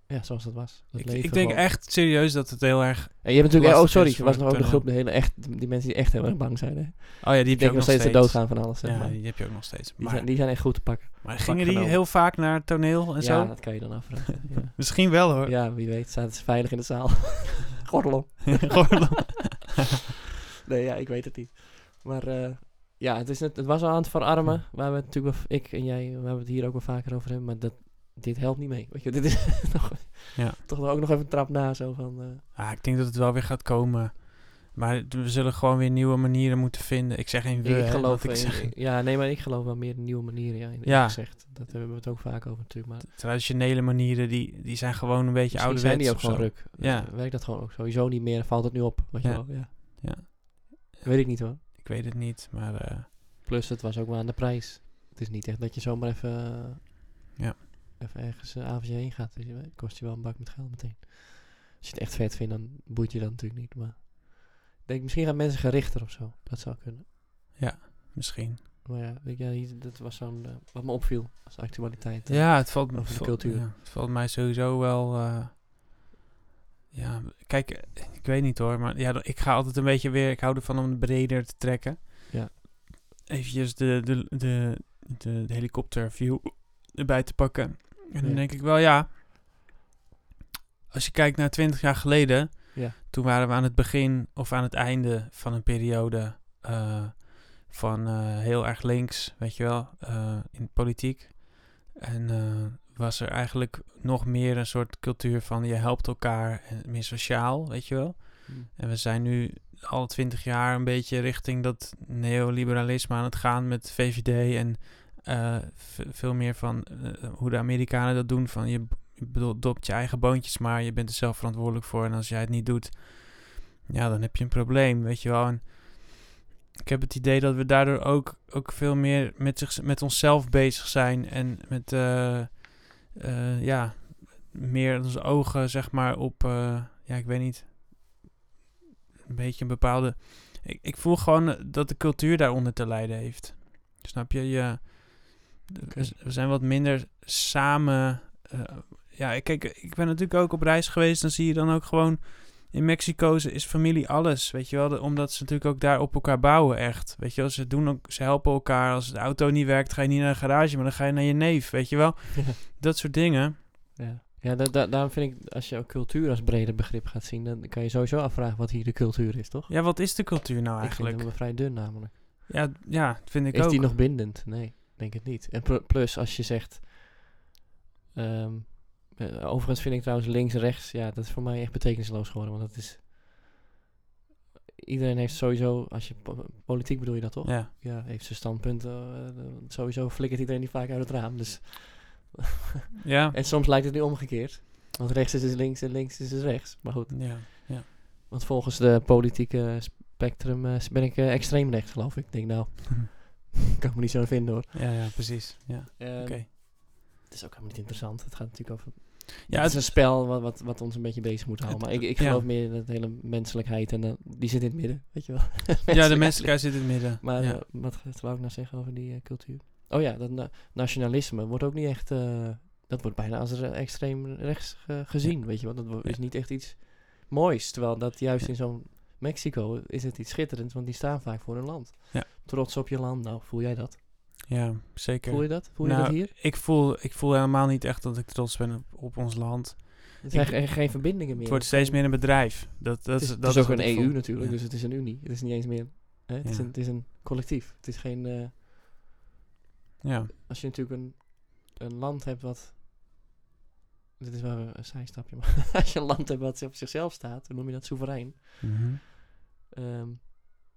Speaker 2: Ja, zoals dat was. Dat
Speaker 1: ik,
Speaker 2: leven
Speaker 1: ik denk
Speaker 2: gewoon.
Speaker 1: echt serieus dat het heel erg...
Speaker 2: En je hebt natuurlijk... Oh,
Speaker 1: lastig
Speaker 2: sorry.
Speaker 1: is
Speaker 2: Er was
Speaker 1: voor
Speaker 2: nog ook de
Speaker 1: tunnel.
Speaker 2: groep, de hele echt... Die mensen die echt heel erg bang zijn, hè?
Speaker 1: Oh ja, die
Speaker 2: Die
Speaker 1: heb je ook
Speaker 2: denken
Speaker 1: nog
Speaker 2: nog steeds te doodgaan van alles, zeg
Speaker 1: Ja,
Speaker 2: maar.
Speaker 1: die heb je ook nog steeds.
Speaker 2: Die,
Speaker 1: Maar,
Speaker 2: zijn, die zijn echt goed te pakken.
Speaker 1: maar gingen die
Speaker 2: genomen.
Speaker 1: heel vaak naar het toneel en
Speaker 2: ja,
Speaker 1: zo?
Speaker 2: dat kan je dan afvragen.
Speaker 1: *laughs*
Speaker 2: ja.
Speaker 1: Misschien wel, hoor.
Speaker 2: ja, wie weet, zaten ze veilig in de zaal. Gordel om.
Speaker 1: *laughs* Gewoon-
Speaker 2: Nee, ja, ik weet het niet. Maar eh, ja, het, is net, het was al aan het verarmen. Waar we het natuurlijk, wel- ik en jij, waar we het hier ook wel vaker over hebben. Maar dat, dit helpt niet mee. Weet je, dit is *laughs* nog,
Speaker 1: Ja.
Speaker 2: toch wel ook nog even een trap na. Zo van, eh,
Speaker 1: Ah, ik denk dat het wel weer gaat komen. Maar we zullen gewoon weer nieuwe manieren moeten vinden. Ik zeg geen we,
Speaker 2: ik
Speaker 1: hè,
Speaker 2: geloof
Speaker 1: want ik
Speaker 2: in-
Speaker 1: zeg-
Speaker 2: Ja, nee, maar ik geloof wel meer in nieuwe manieren. Ja, in,
Speaker 1: Ja.
Speaker 2: gezegd. Dat hebben we het ook vaak over natuurlijk. Maar
Speaker 1: traditionele manieren, die, die zijn gewoon een beetje
Speaker 2: misschien
Speaker 1: ouderwets.
Speaker 2: zijn die ook
Speaker 1: of
Speaker 2: gewoon
Speaker 1: zo.
Speaker 2: ruk.
Speaker 1: Ja.
Speaker 2: Ja. werkt dat gewoon ook sowieso niet meer. Valt het nu op. Weet
Speaker 1: Ja.
Speaker 2: je wel, ja.
Speaker 1: Ja.
Speaker 2: Weet ik niet hoor.
Speaker 1: Ik weet het niet, maar eh,
Speaker 2: Plus, het was ook maar aan de prijs. Het is niet echt dat je zomaar even, eh,
Speaker 1: Ja.
Speaker 2: even ergens een avondje heen gaat. Dus je- het kost je wel een bak met geld meteen. Als je het echt vet vindt, dan boeit je dat natuurlijk niet. Maar ik denk, misschien gaan mensen gerichter of zo. Dat zou kunnen.
Speaker 1: misschien.
Speaker 2: Maar ja, ik, ja hier- dat was zo'n eh, wat me opviel als actualiteit.
Speaker 1: Ja, het valt,
Speaker 2: Over de
Speaker 1: val-
Speaker 2: cultuur.
Speaker 1: ja, het valt mij sowieso wel. eh, ja, kijk, eh, ik weet niet hoor, maar ja, ik ga altijd een beetje weer. Ik hou ervan om het breder te trekken.
Speaker 2: Ja.
Speaker 1: Eventjes de, de, de, de, de helikopterview erbij te pakken. En dan
Speaker 2: Ja.
Speaker 1: denk ik wel, ja. Als je kijkt naar 20 jaar geleden,
Speaker 2: Ja.
Speaker 1: toen waren we aan het begin of aan het einde van een periode eh, van eh, heel erg links, weet je wel, eh, in politiek. En eh, was er eigenlijk nog meer een soort cultuur van je helpt elkaar en meer sociaal, weet je wel.
Speaker 2: Hmm.
Speaker 1: En we zijn nu al twintig jaar een beetje richting dat neoliberalisme aan het gaan met VVD en eh, ve- veel meer van eh, hoe de Amerikanen dat doen. Van je, b- je bedoel, dopt je eigen boontjes, maar je bent er zelf verantwoordelijk voor. En als jij het niet doet, ja, dan heb je een probleem, weet je wel. En ik heb het idee dat we daardoor ook, ook veel meer met, zich, met onszelf bezig zijn en met, eh, eh, ja, meer onze ogen, zeg maar, op, eh, ja, ik weet niet, een beetje een bepaalde. Ik, ik voel gewoon eh, dat de cultuur daaronder te lijden heeft. Snap je? je
Speaker 2: Oké.
Speaker 1: we, z- we zijn wat minder samen eh, ja, kijk, ik ben natuurlijk ook op reis geweest. Dan zie je dan ook gewoon... In Mexico ze- is familie alles, weet je wel. De- Omdat ze natuurlijk ook daar op elkaar bouwen, echt. Weet je wel, ze, doen ook, ze helpen elkaar. Als de auto niet werkt, ga je niet naar de garage, maar dan ga je naar je neef, weet je wel.
Speaker 2: Ja.
Speaker 1: Dat soort dingen.
Speaker 2: *laughs* Ja, ja da- da- daarom vind ik, als je ook cultuur als breder begrip gaat zien, dan kan je sowieso afvragen wat hier de cultuur is, toch?
Speaker 1: Ja, wat is de cultuur nou
Speaker 2: Ik
Speaker 1: eigenlijk?
Speaker 2: vind hem vrij dun namelijk.
Speaker 1: Ja, d- ja, dat vind ik
Speaker 2: is
Speaker 1: ook.
Speaker 2: die nog bindend? Nee, denk het niet. En pl- plus, als je zegt... ehm, eh, overigens vind ik trouwens links-rechts... Ja, dat is voor mij echt betekenisloos geworden. Want dat is... Iedereen heeft sowieso... Als je po- politiek bedoel je dat toch?
Speaker 1: Ja.
Speaker 2: Ja, heeft zijn standpunten. eh, eh, sowieso flikkert iedereen die vaak uit het raam. Dus,
Speaker 1: Ja.
Speaker 2: en soms lijkt het nu omgekeerd. Want rechts is dus links en links is dus rechts. Maar goed.
Speaker 1: ja.
Speaker 2: Want volgens de politieke spectrum eh, ben ik eh, extreem rechts, geloof ik. Ik denk
Speaker 1: *laughs*
Speaker 2: nou... kan ik me niet zo in vinden hoor.
Speaker 1: Ja, ja, precies. Ja.
Speaker 2: Ehm,
Speaker 1: Oké.
Speaker 2: Het is ook helemaal niet interessant. Het gaat natuurlijk over.
Speaker 1: Ja,
Speaker 2: het
Speaker 1: het-
Speaker 2: is een spel wat, wat, wat ons een beetje bezig moet houden.
Speaker 1: Het-
Speaker 2: Maar ik, ik
Speaker 1: ja.
Speaker 2: geloof meer in het hele menselijkheid en eh, die zit in het midden, weet je wel. *laughs*
Speaker 1: ja, de
Speaker 2: Menselijkheid.
Speaker 1: menselijkheid zit in het midden.
Speaker 2: Maar
Speaker 1: ja.
Speaker 2: eh, wat wat wou ik nou zeggen over die eh, cultuur? Oh ja, dat na- nationalisme wordt ook niet echt. eh, dat wordt bijna als re- extreem rechts ge- gezien, weet je wel. Dat wo- is
Speaker 1: Ja.
Speaker 2: niet echt iets moois. Terwijl dat juist in zo'n Mexico is het iets schitterends, want die staan vaak voor hun land.
Speaker 1: Ja.
Speaker 2: Trots op je land. Nou, voel jij dat?
Speaker 1: ja, zeker.
Speaker 2: Voel je dat? Voel je
Speaker 1: Nou,
Speaker 2: dat hier?
Speaker 1: Ik voel, ik voel helemaal niet echt dat ik trots ben op, op ons land.
Speaker 2: Er zijn ge- geen verbindingen meer.
Speaker 1: Het wordt steeds meer een bedrijf. Dat, dat,
Speaker 2: Het is,
Speaker 1: dat
Speaker 2: het is ook
Speaker 1: wat ik
Speaker 2: een
Speaker 1: voel.
Speaker 2: EU natuurlijk,
Speaker 1: Ja.
Speaker 2: dus het is een unie. Het is niet eens meer. Hè? Het, is
Speaker 1: Ja.
Speaker 2: een, het is een collectief. Het is geen. eh, dus-
Speaker 1: Ja.
Speaker 2: als je natuurlijk een, een land hebt wat. Dit is wel een zijstapje, maar *laughs* als je een land hebt wat op zichzelf staat, dan noem je dat soeverein.
Speaker 1: Mhm.
Speaker 2: Ehm,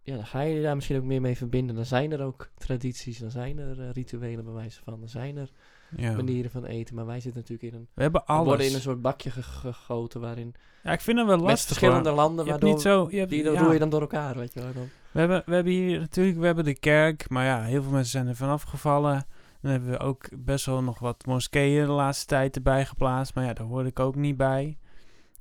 Speaker 2: ja, dan ga je je daar misschien ook meer mee verbinden. Dan zijn er ook tradities, dan zijn er eh, rituelen bij wijze van, dan zijn er
Speaker 1: Ja.
Speaker 2: manieren van eten. Maar wij zitten natuurlijk in een.
Speaker 1: We hebben
Speaker 2: We worden in een
Speaker 1: alles.
Speaker 2: soort bakje ge- gegoten waarin.
Speaker 1: Ja, ik vind het wel
Speaker 2: met
Speaker 1: lastig.
Speaker 2: verschillende
Speaker 1: hoor.
Speaker 2: landen,
Speaker 1: je hebt niet
Speaker 2: waardoor.
Speaker 1: zo... Je hebt,
Speaker 2: Die dan
Speaker 1: ja.
Speaker 2: roer je dan door elkaar, weet je wel. Dan,
Speaker 1: We hebben, we hebben hier natuurlijk we hebben de kerk, maar ja, heel veel mensen zijn er vanaf gevallen. Dan hebben we ook best wel nog wat moskeeën de laatste tijd erbij geplaatst, maar ja, daar hoor ik ook niet bij.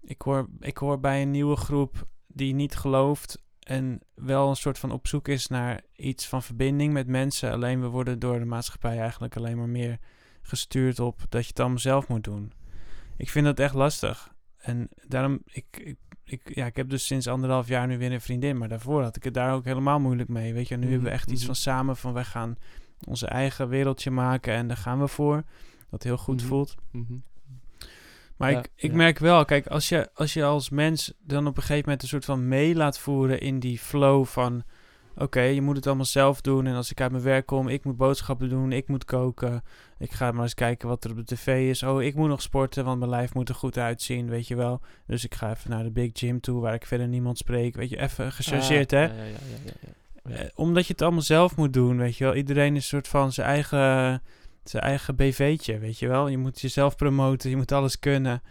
Speaker 1: Ik hoor, ik hoor bij een nieuwe groep die niet gelooft en wel een soort van op zoek is naar iets van verbinding met mensen. Alleen we worden door de maatschappij eigenlijk alleen maar meer gestuurd op dat je het allemaal zelf moet doen. Ik vind dat echt lastig. En daarom, ik, ik ik, ja, ik heb dus sinds anderhalf jaar nu weer een vriendin. Maar daarvoor had ik het daar ook helemaal moeilijk mee. Weet je, nu
Speaker 2: Mhm,
Speaker 1: hebben we echt iets
Speaker 2: mhm.
Speaker 1: van samen. Van wij gaan onze eigen wereldje maken. En daar gaan we voor. Wat heel goed
Speaker 2: Mhm.
Speaker 1: voelt. Maar
Speaker 2: Ja,
Speaker 1: ik, ik
Speaker 2: ja.
Speaker 1: merk wel, kijk, als je, als je als mens dan op een gegeven moment een soort van mee laat voeren in die flow van... Oké, je moet het allemaal zelf doen. En als ik uit mijn werk kom, ik moet boodschappen doen, ik moet koken. Ik ga maar eens kijken wat er op de tv is. Oh, ik moet nog sporten, want mijn lijf moet er goed uitzien, weet je wel. Dus ik ga even naar de big gym toe, waar ik verder niemand spreek. Weet je, even gechargeerd, hè?
Speaker 2: Ah, Ja, ja, ja, ja, ja, ja.
Speaker 1: Eh, omdat je het allemaal zelf moet doen, weet je wel. Iedereen is een soort van zijn eigen, zijn eigen BV'tje, weet je wel. Je moet jezelf promoten, je moet alles kunnen.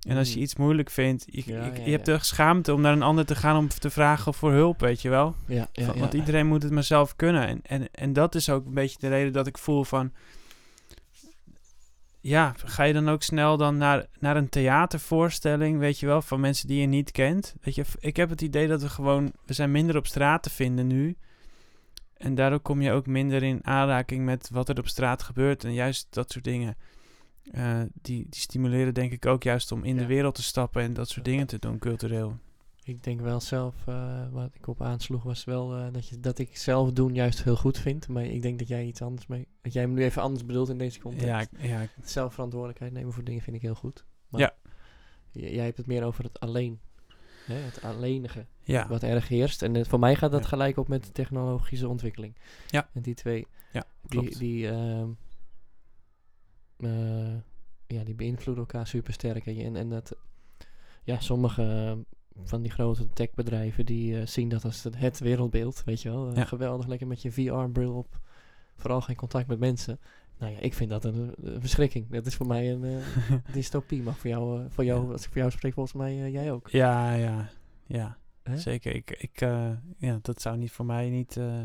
Speaker 1: En als je
Speaker 2: Mm.
Speaker 1: iets moeilijk vindt, je,
Speaker 2: Ja,
Speaker 1: je-
Speaker 2: ja,
Speaker 1: je hebt
Speaker 2: ja.
Speaker 1: echt schaamte om naar een ander te gaan om te vragen voor hulp, weet je wel.
Speaker 2: Ja, ja,
Speaker 1: Van-
Speaker 2: ja.
Speaker 1: Want iedereen moet het maar zelf kunnen. En, en, en dat is ook een beetje de reden dat ik voel van... Ja, ga je dan ook snel dan naar, naar een theatervoorstelling, weet je wel, van mensen die je niet kent? Weet je, ik heb het idee dat we gewoon... We zijn minder op straat te vinden nu. En daardoor kom je ook minder in aanraking met wat er op straat gebeurt. En juist dat soort dingen, eh, die, die stimuleren denk ik ook juist om in de
Speaker 2: Ja.
Speaker 1: wereld te stappen en dat soort dingen te doen, cultureel.
Speaker 2: Ik denk wel zelf, eh, wat ik op aansloeg was wel eh, dat, je, dat ik zelf doen juist heel goed vind. Maar ik denk dat jij iets anders mee... Dat jij hem nu even anders bedoelt in deze context.
Speaker 1: Ja, ik- ja, ik-
Speaker 2: Zelf verantwoordelijkheid nemen voor dingen vind ik heel goed. Maar
Speaker 1: Ja.
Speaker 2: j- jij hebt het meer over het alleen. Hè? Het alleenige.
Speaker 1: ja.
Speaker 2: Wat erg heerst. En eh, voor mij gaat dat
Speaker 1: Ja.
Speaker 2: gelijk op met de technologische ontwikkeling.
Speaker 1: Ja.
Speaker 2: En die twee
Speaker 1: Ja,
Speaker 2: die,
Speaker 1: klopt.
Speaker 2: die, ehm, eh, ja, die beïnvloeden elkaar supersterk. En, je- en, en dat, ja, sommige eh, van die grote techbedrijven die eh, zien dat als het, het wereldbeeld, weet je wel. Eh,
Speaker 1: Ja.
Speaker 2: Geweldig, lekker met je VR-bril op. Vooral geen contact met mensen. Nou ja, ik vind dat een, eh, verschrikking. Dat is voor mij
Speaker 1: *laughs*
Speaker 2: een eh, dystopie. Maar voor jou, eh, voor jou,
Speaker 1: Ja.
Speaker 2: als ik voor jou spreek, volgens mij eh, jij ook.
Speaker 1: Ja, ja, ja.
Speaker 2: Hè?
Speaker 1: Zeker. Ik, ik, eh, ja, dat zou niet voor mij niet. eh,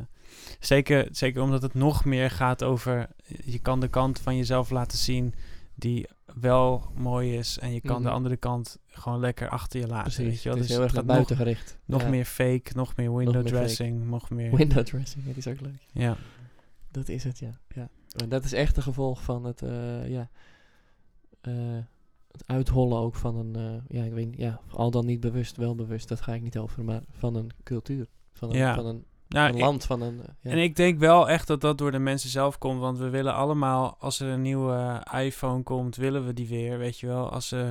Speaker 1: zeker, zeker omdat het nog meer gaat over. Je kan de kant van jezelf laten zien die wel mooi is. En je kan
Speaker 2: Mhm.
Speaker 1: de andere kant gewoon lekker achter je laten. Weet
Speaker 2: Precies,
Speaker 1: je wel?
Speaker 2: het is
Speaker 1: Dus
Speaker 2: heel erg
Speaker 1: dat
Speaker 2: naar
Speaker 1: nog-
Speaker 2: buiten gericht.
Speaker 1: Nog
Speaker 2: Ja.
Speaker 1: meer fake, nog meer window
Speaker 2: meer fake.
Speaker 1: dressing, nog meer.
Speaker 2: *laughs* Window dressing, dat is ook leuk.
Speaker 1: ja.
Speaker 2: Dat is het, ja. ja. En dat is echt een gevolg van het, eh, ja, eh, het uithollen ook van een, eh, ja, ik weet niet, ja, al dan niet bewust, wel bewust, dat ga ik niet over, maar van een cultuur, van een,
Speaker 1: Ja.
Speaker 2: van een,
Speaker 1: Nou,
Speaker 2: een
Speaker 1: ik-
Speaker 2: land, van een, eh, ja.
Speaker 1: En ik denk wel echt dat dat door de mensen zelf komt. Want we willen allemaal, als er een nieuwe iPhone komt, willen we die weer. Weet je wel, als, eh,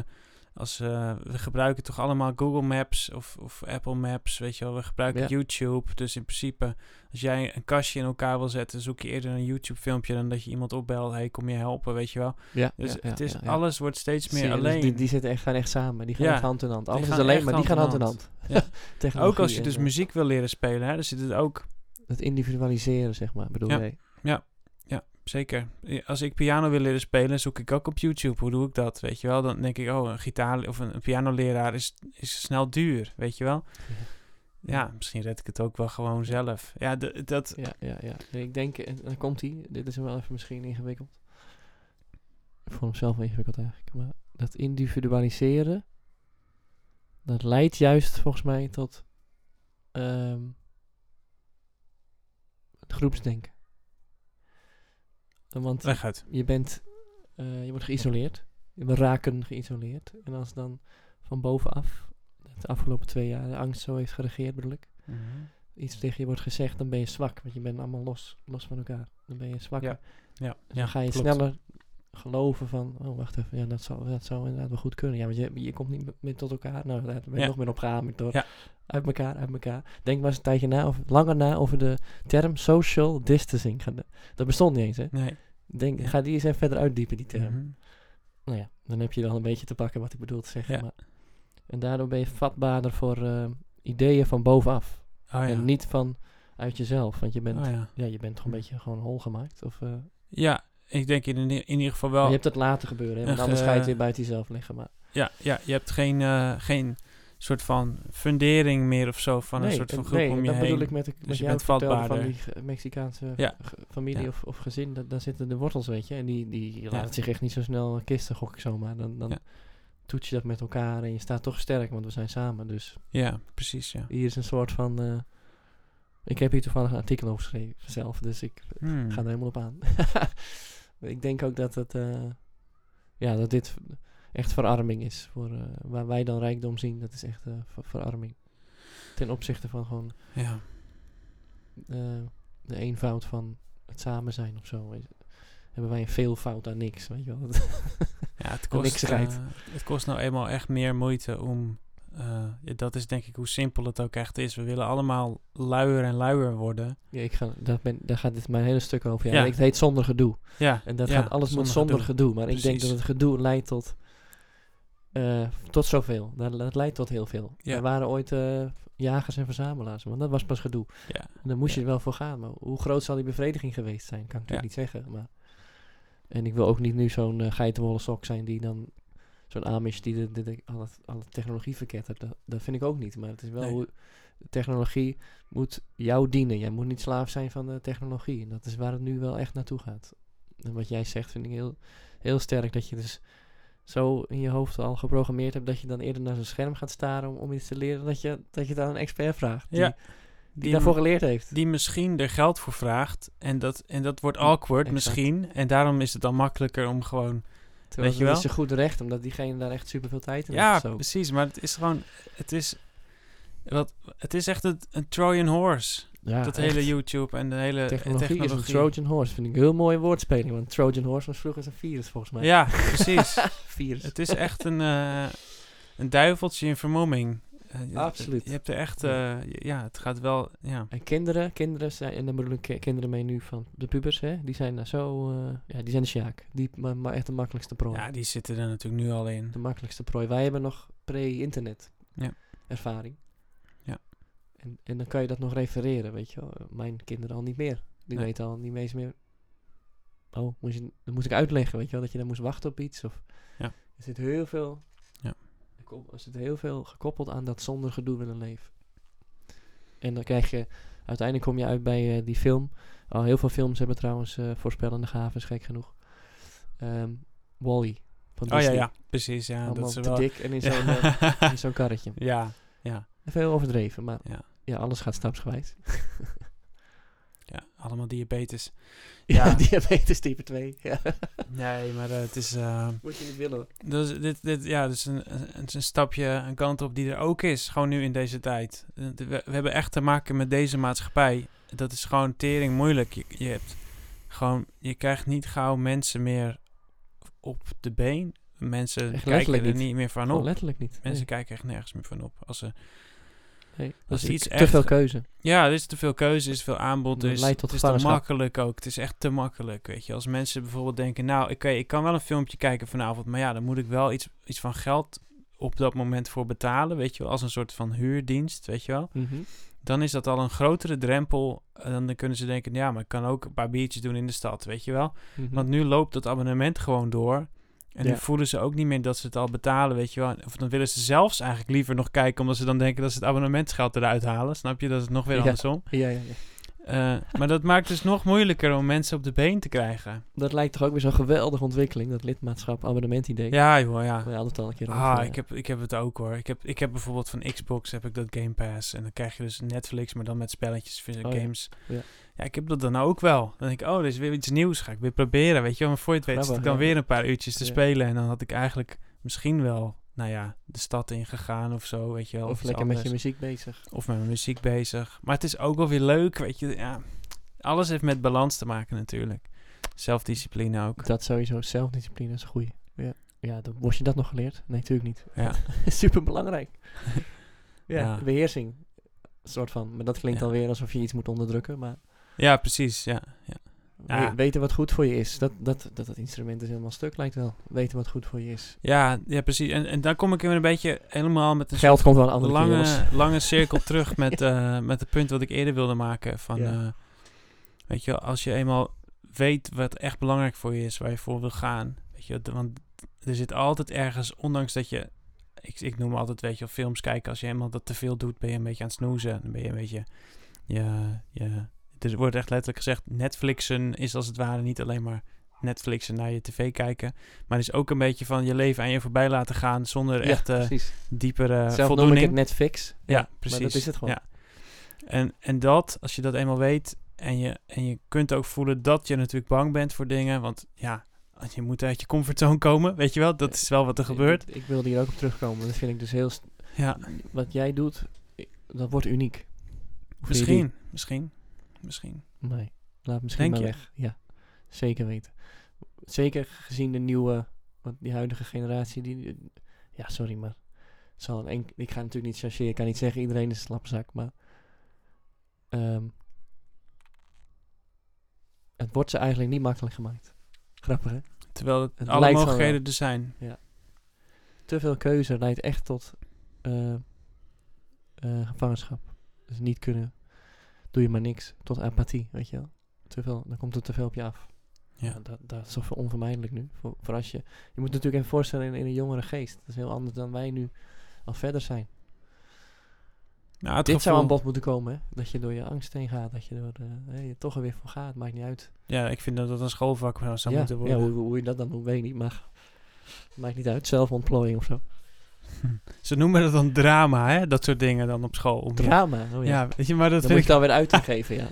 Speaker 1: als eh, we gebruiken toch allemaal Google Maps of, of Apple Maps. Weet je wel, we gebruiken
Speaker 2: Ja.
Speaker 1: YouTube. Dus in principe, als jij een kastje in elkaar wil zetten, zoek je eerder een YouTube filmpje dan dat je iemand opbelt. Hé, hey, kom je helpen, weet je wel.
Speaker 2: ja,
Speaker 1: Dus
Speaker 2: ja, ja,
Speaker 1: het is,
Speaker 2: ja, ja.
Speaker 1: alles wordt steeds
Speaker 2: Zie
Speaker 1: meer
Speaker 2: je, dus
Speaker 1: alleen.
Speaker 2: die, die zitten echt, gaan echt samen, die gaan
Speaker 1: Ja.
Speaker 2: echt hand in hand.
Speaker 1: Die
Speaker 2: Alles is
Speaker 1: gaan
Speaker 2: alleen,
Speaker 1: echt
Speaker 2: maar die gaan
Speaker 1: hand
Speaker 2: hand
Speaker 1: in
Speaker 2: in hand.
Speaker 1: Ja. ook
Speaker 2: *laughs* Technologie
Speaker 1: als je
Speaker 2: en,
Speaker 1: dus
Speaker 2: eh,
Speaker 1: muziek wil leren spelen, hè, dan zit het ook
Speaker 2: Het individualiseren, zeg maar, bedoel
Speaker 1: Ja.
Speaker 2: jij.
Speaker 1: Zeker. Ja, Als ik piano wil leren spelen, zoek ik ook op YouTube. Hoe doe ik dat? Weet je wel? Dan denk ik, oh, een gitaar of een, een pianoleraar is, is snel duur. Weet je wel? Ja, misschien red ik het ook wel gewoon zelf. Ja, d- dat.
Speaker 2: Ja, ja, ja. Nee, ik denk, en dan komt hij. Dit is wel even misschien ingewikkeld. Voor hemzelf wel ingewikkeld eigenlijk. Maar dat individualiseren, dat leidt juist volgens mij tot ehm, het groepsdenken. Eh, Want
Speaker 1: Leg uit.
Speaker 2: je bent, eh, je wordt geïsoleerd. We raken geïsoleerd. En als dan van bovenaf, de afgelopen twee jaar, de angst zo heeft geregeerd, bedoel ik
Speaker 1: Mhm.
Speaker 2: iets tegen je wordt gezegd, dan ben je zwak. Want je bent allemaal los, los van elkaar. Dan ben je zwakker.
Speaker 1: Ja, Ja,
Speaker 2: Dus dan ga je
Speaker 1: klopt.
Speaker 2: sneller geloven van, oh wacht even, ja, dat zou, dat zou inderdaad wel goed kunnen. Ja, want je, je komt niet meer tot elkaar. Nou, daar ben je
Speaker 1: Ja.
Speaker 2: nog meer opgehamerd door.
Speaker 1: Ja.
Speaker 2: Uit elkaar, uit elkaar. Denk maar eens een tijdje na, of langer na, over de term social distancing. Ga de- Dat bestond niet eens, hè?
Speaker 1: Nee.
Speaker 2: Denk,
Speaker 1: Ja.
Speaker 2: Ga die eens even verder uitdiepen, die term.
Speaker 1: Mhm.
Speaker 2: Nou ja, dan heb je wel een beetje te pakken wat ik bedoel te zeggen.
Speaker 1: Ja.
Speaker 2: Maar, en daardoor ben je vatbaarder voor eh, ideeën van bovenaf.
Speaker 1: Oh ja.
Speaker 2: En niet van uit jezelf, want je bent,
Speaker 1: Oh, ja. Oh.
Speaker 2: ja. je bent toch een beetje gewoon hol gemaakt. Of, eh,
Speaker 1: ja, ik denk in, in ieder geval
Speaker 2: maar
Speaker 1: wel.
Speaker 2: je hebt het laten gebeuren, hè, want
Speaker 1: Een
Speaker 2: anders ga je het
Speaker 1: ge-
Speaker 2: weer buiten jezelf leggen. Maar
Speaker 1: Ja, ja, je hebt geen, eh, geen soort van fundering meer of zo van een
Speaker 2: Nee,
Speaker 1: soort van
Speaker 2: het-
Speaker 1: groep
Speaker 2: nee,
Speaker 1: om je
Speaker 2: dat
Speaker 1: heen. Dus
Speaker 2: bedoel ik met, de, met
Speaker 1: je
Speaker 2: jou
Speaker 1: bent
Speaker 2: vertelde
Speaker 1: vatbaarder.
Speaker 2: van die ge- Mexicaanse
Speaker 1: Ja.
Speaker 2: ge- familie
Speaker 1: Ja.
Speaker 2: Of, of gezin. dat- daar zitten de wortels, weet je. En die, die laat het zich echt niet zo snel kisten, gok ik zomaar. Dan, dan
Speaker 1: Ja.
Speaker 2: toets je dat met elkaar en je staat toch sterk, want we zijn samen. Dus
Speaker 1: Ja, precies, ja.
Speaker 2: hier is een soort van... eh, ik heb hier toevallig een artikel over geschreven zelf, dus ik
Speaker 1: Hmm.
Speaker 2: ga er helemaal op aan. *laughs* ik denk ook dat het, eh, ja, dat dit echt verarming is. Voor, eh, waar wij dan rijkdom zien, dat is echt eh, ver- verarming. Ten opzichte van gewoon
Speaker 1: Ja.
Speaker 2: eh, de eenvoud van het samen zijn of zo. Weet- Hebben wij een veelvoud aan niks, weet je wel. *laughs*
Speaker 1: Ja, het
Speaker 2: Een
Speaker 1: kost,
Speaker 2: niksigheid.
Speaker 1: eh, het kost nou eenmaal echt meer moeite om. eh, ja, dat is denk ik hoe simpel het ook echt is. We willen allemaal luier en luier worden.
Speaker 2: ja, ik ga, daar, ben, daar gaat dit mijn hele stuk over. Ja.
Speaker 1: Ja.
Speaker 2: Ik- Het heet zonder gedoe.
Speaker 1: Ja,
Speaker 2: En dat
Speaker 1: ja,
Speaker 2: gaat alles met zonder
Speaker 1: gedoe.
Speaker 2: gedoe. Maar ik denk dat
Speaker 1: Precies.
Speaker 2: het gedoe leidt tot, eh, tot zoveel. Dat, dat leidt tot heel veel.
Speaker 1: Ja.
Speaker 2: Er waren ooit eh, jagers en verzamelaars, want dat was pas gedoe.
Speaker 1: Ja,
Speaker 2: En daar moest
Speaker 1: Ja.
Speaker 2: je er wel voor gaan. Maar hoe groot zal die bevrediging geweest zijn, kan ik natuurlijk niet zeggen. Maar... En ik wil ook niet nu zo'n eh, geitenwolle sok zijn die dan... Zo'n Amish die de, de, de- alle, alle technologie verkettert. Dat, dat vind ik ook niet. Maar het is wel
Speaker 1: Nee.
Speaker 2: hoe... Technologie moet jou dienen. Jij moet niet slaaf zijn van de technologie. En dat is waar het nu wel echt naartoe gaat. En wat jij zegt vind ik heel, heel sterk. Dat je dus zo in je hoofd al geprogrammeerd hebt... dat je dan eerder naar zo'n scherm gaat staren om, om iets te leren... dat je, dat je het aan een expert vraagt. Die,
Speaker 1: Ja,
Speaker 2: die,
Speaker 1: die,
Speaker 2: daarvoor
Speaker 1: m-
Speaker 2: geleerd heeft.
Speaker 1: die misschien er geld voor vraagt. En dat, en dat wordt awkward
Speaker 2: exact.
Speaker 1: misschien. En daarom is het dan makkelijker om gewoon.
Speaker 2: Terwijl
Speaker 1: Weet
Speaker 2: Weet
Speaker 1: je
Speaker 2: je is ze goed recht, omdat diegene daar echt super veel tijd in
Speaker 1: Ja,
Speaker 2: heeft. Zo.
Speaker 1: precies. Maar het is gewoon. Het is, wat, het is echt een, een Trojan horse.
Speaker 2: Ja,
Speaker 1: dat
Speaker 2: echt.
Speaker 1: hele YouTube en de hele
Speaker 2: technologie,
Speaker 1: technologie.
Speaker 2: is een Trojan horse. Vind ik een heel mooie woordspeling, want Trojan horse was vroeger een virus volgens mij.
Speaker 1: Ja, precies.
Speaker 2: virus.
Speaker 1: *laughs* Het is echt een, eh, een duiveltje in vermomming. Eh, je-
Speaker 2: Absoluut.
Speaker 1: Je hebt er echt, eh, j- ja, het gaat wel, ja.
Speaker 2: En kinderen, kinderen zijn, en dan bedoel ik ki- kinderen mee nu van de pubers, hè, die zijn daar zo, eh, ja, die zijn de sjaak. Die, maar, maar echt de makkelijkste prooi.
Speaker 1: Ja, die zitten er natuurlijk nu al in.
Speaker 2: De makkelijkste prooi. Wij hebben nog pre-internet
Speaker 1: Ja.
Speaker 2: ervaring.
Speaker 1: Ja.
Speaker 2: En, en dan kan je dat nog refereren, weet je wel. Mijn kinderen al niet meer. Die
Speaker 1: Nee.
Speaker 2: weten al niet eens meer. Oh, moest je, dat moest ik uitleggen, weet je wel. Dat je dan moest wachten op iets. Of
Speaker 1: Ja.
Speaker 2: Er zit heel veel...
Speaker 1: Ja.
Speaker 2: er kom- Er zit heel veel gekoppeld aan dat zonder gedoe willen leven. En dan krijg je... Uiteindelijk kom je uit bij eh, die film. Oh, heel veel films hebben trouwens eh, voorspellende gaves, gek genoeg. Ehm Wally. Van
Speaker 1: Oh ja,
Speaker 2: Disney
Speaker 1: ja, precies, *laughs* ja.
Speaker 2: allemaal
Speaker 1: Dat is
Speaker 2: te
Speaker 1: wel...
Speaker 2: dik en in zo'n, eh, in zo'n karretje.
Speaker 1: ja,
Speaker 2: Veel overdreven, maar
Speaker 1: Ja.
Speaker 2: ja. alles gaat stapsgewijs.
Speaker 1: Ja, allemaal diabetes. *laughs*
Speaker 2: Ja,
Speaker 1: Ja.
Speaker 2: *laughs* diabetes type 2. Ja. *laughs*
Speaker 1: Nee, maar eh, het is... eh,
Speaker 2: Moet je niet willen.
Speaker 1: Dus dit, dit, ja, dus een, een, het is een stapje, een kant op die er ook is, gewoon nu in deze tijd. Eh, We, we hebben echt te maken met deze maatschappij. Dat is gewoon tering moeilijk. Je, je hebt gewoon, je krijgt niet gauw mensen meer op de been. Mensen
Speaker 2: Echt
Speaker 1: kijken er
Speaker 2: letterlijk
Speaker 1: niet.
Speaker 2: niet.
Speaker 1: meer van
Speaker 2: Gewoon
Speaker 1: op.
Speaker 2: Oh, letterlijk niet.
Speaker 1: Oh. Mensen
Speaker 2: Nee.
Speaker 1: kijken echt nergens meer van op. Als ze,
Speaker 2: Nee.
Speaker 1: als
Speaker 2: Dus
Speaker 1: iets
Speaker 2: te
Speaker 1: echt-
Speaker 2: veel keuze.
Speaker 1: ja, er is te veel keuze, er is veel aanbod. Er
Speaker 2: Dat
Speaker 1: is,
Speaker 2: leidt tot
Speaker 1: het is te
Speaker 2: gevangenschap.
Speaker 1: makkelijk ook. Het is echt te makkelijk, weet je. Als mensen bijvoorbeeld denken, nou, oké, ik kan wel een filmpje kijken vanavond. Maar ja, dan moet ik wel iets, iets van geld op dat moment voor betalen, weet je wel. Als een soort van huurdienst, weet je wel.
Speaker 2: Mhm.
Speaker 1: Dan is dat al een grotere drempel. En dan kunnen ze denken, ja, maar ik kan ook een paar biertjes doen in de stad, weet je wel.
Speaker 2: Mhm.
Speaker 1: Want nu loopt dat abonnement gewoon door. En
Speaker 2: Hm. Ja.
Speaker 1: nu voelen ze ook niet meer dat ze het al betalen, weet je wel. Of dan willen ze zelfs eigenlijk liever nog kijken, omdat ze dan denken dat ze het abonnementsgeld eruit halen. Snap je? Dat is het nog weer
Speaker 2: Ja.
Speaker 1: andersom.
Speaker 2: Ja, ja, ja.
Speaker 1: Eh, maar dat maakt dus nog moeilijker om mensen op de been te krijgen.
Speaker 2: Dat lijkt toch ook weer zo'n geweldige ontwikkeling, dat lidmaatschap, abonnementidee.
Speaker 1: Ja, joh, ja.
Speaker 2: We hadden het al een keer eh, over.
Speaker 1: Ah, ik heb, ik heb het ook hoor. Ik heb, ik heb bijvoorbeeld van Xbox heb ik dat Game Pass. En dan krijg je dus Netflix, maar dan met spelletjes, vind ik
Speaker 2: Oh, ja.
Speaker 1: games.
Speaker 2: Ja.
Speaker 1: ik heb dat dan ook wel. Dan denk ik, oh, er is weer iets nieuws. Ga ik weer proberen, weet je wel. Maar voor je het weet zit ik
Speaker 2: Grappig,
Speaker 1: dan
Speaker 2: ja.
Speaker 1: weer een paar uurtjes te
Speaker 2: Ja.
Speaker 1: spelen. En dan had ik eigenlijk misschien wel, nou ja, de stad ingegaan of zo, weet je wel.
Speaker 2: Of
Speaker 1: iets
Speaker 2: lekker met je
Speaker 1: anders.
Speaker 2: muziek bezig.
Speaker 1: Of met mijn muziek bezig. Maar het is ook wel weer leuk, weet je. Ja, alles heeft met balans te maken natuurlijk. Zelfdiscipline ook.
Speaker 2: Dat sowieso, zelfdiscipline is een goeie. Ja, ja dan, word je dat nog geleerd? Nee, natuurlijk niet.
Speaker 1: Ja.
Speaker 2: *laughs* Super belangrijk.
Speaker 1: *laughs*
Speaker 2: ja,
Speaker 1: Ja.
Speaker 2: beheersing. Soort van. Maar dat klinkt
Speaker 1: Ja.
Speaker 2: alweer alsof je iets moet onderdrukken, maar
Speaker 1: Ja, precies. Ja, ja. Ja.
Speaker 2: we- weten wat goed voor je is. Dat dat, dat dat instrument is helemaal stuk lijkt wel. Weten wat goed voor je is.
Speaker 1: ja, ja precies. En, en daar kom ik weer een beetje helemaal met een
Speaker 2: Geld komt wel een andere keer, jongens. *laughs*
Speaker 1: lange, lange cirkel terug met, eh, met het punt wat ik eerder wilde maken. Van,
Speaker 2: Ja.
Speaker 1: eh, weet je, wel, als je eenmaal weet wat echt belangrijk voor je is, waar je voor wil gaan. Weet je, wel, d- want er zit altijd ergens, ondanks dat je, ik, ik noem altijd, weet je, wel, films kijken. Als je eenmaal dat te veel doet, ben je een beetje aan het snoezen. Dan ben je een beetje, ja, ja. dus Er wordt echt letterlijk gezegd, Netflixen is als het ware niet alleen maar Netflixen naar je tv kijken. Maar het is ook een beetje van je leven aan je voorbij laten gaan zonder
Speaker 2: Ja,
Speaker 1: echt eh,
Speaker 2: precies.
Speaker 1: diepere
Speaker 2: Zelf noem ik
Speaker 1: voldoening.
Speaker 2: het Netflix.
Speaker 1: Ja, precies.
Speaker 2: Maar dat is het gewoon.
Speaker 1: Ja. En, en dat, als je dat eenmaal weet en je, en je kunt ook voelen dat je natuurlijk bang bent voor dingen, want ja, je moet uit je comfortzone komen, weet je wel, dat is wel wat er gebeurt.
Speaker 2: Ik, ik wilde hier ook op terugkomen. Dat vind ik dus heel... st-
Speaker 1: Ja,
Speaker 2: Wat jij doet, i- dat wordt uniek. Of jullie.
Speaker 1: misschien, misschien, misschien.
Speaker 2: Nee, laat misschien
Speaker 1: Denk
Speaker 2: maar
Speaker 1: je?
Speaker 2: weg. Ja, zeker weten. Zeker gezien de nieuwe... Want die huidige generatie, die... Ja, sorry, maar... Zal een enk- ik ga natuurlijk niet chargeren. Ik kan niet zeggen, iedereen is een slapzak, maar... ehm, het wordt ze eigenlijk niet makkelijk gemaakt. Grappig, hè?
Speaker 1: Terwijl het
Speaker 2: Het
Speaker 1: alle
Speaker 2: lijkt van
Speaker 1: mogelijkheden er zijn.
Speaker 2: te veel keuze leidt echt tot eh, eh, gevangenschap. Dus niet kunnen, doe je maar niks, tot apathie, weet je wel. Te veel, dan komt er te veel op je af.
Speaker 1: Ja.
Speaker 2: dat, dat is toch wel onvermijdelijk nu. Voor, voor als je, je moet natuurlijk even voorstellen in, in een jongere geest. Dat is heel anders dan wij nu al verder zijn.
Speaker 1: Nou, het
Speaker 2: Dit zou aan
Speaker 1: gevoel-
Speaker 2: bod moeten komen, hè? Dat je door je angst heen gaat, dat je, door de, hè, je toch er weer voor gaat, maakt niet uit.
Speaker 1: Ja, ik vind dat dat een schoolvak wel zou
Speaker 2: ja,
Speaker 1: moeten
Speaker 2: ja
Speaker 1: worden.
Speaker 2: hoe, hoe je dat dan doet, weet ik niet, maar maakt niet uit. Zelfontplooiing of zo.
Speaker 1: Ze noemen dat dan drama, hè, dat soort dingen dan op school. Om-
Speaker 2: Drama, oh ja.
Speaker 1: Ja, weet je, maar dat
Speaker 2: Dan
Speaker 1: vind
Speaker 2: moet
Speaker 1: ik
Speaker 2: je het alweer uit gaan geven, ja.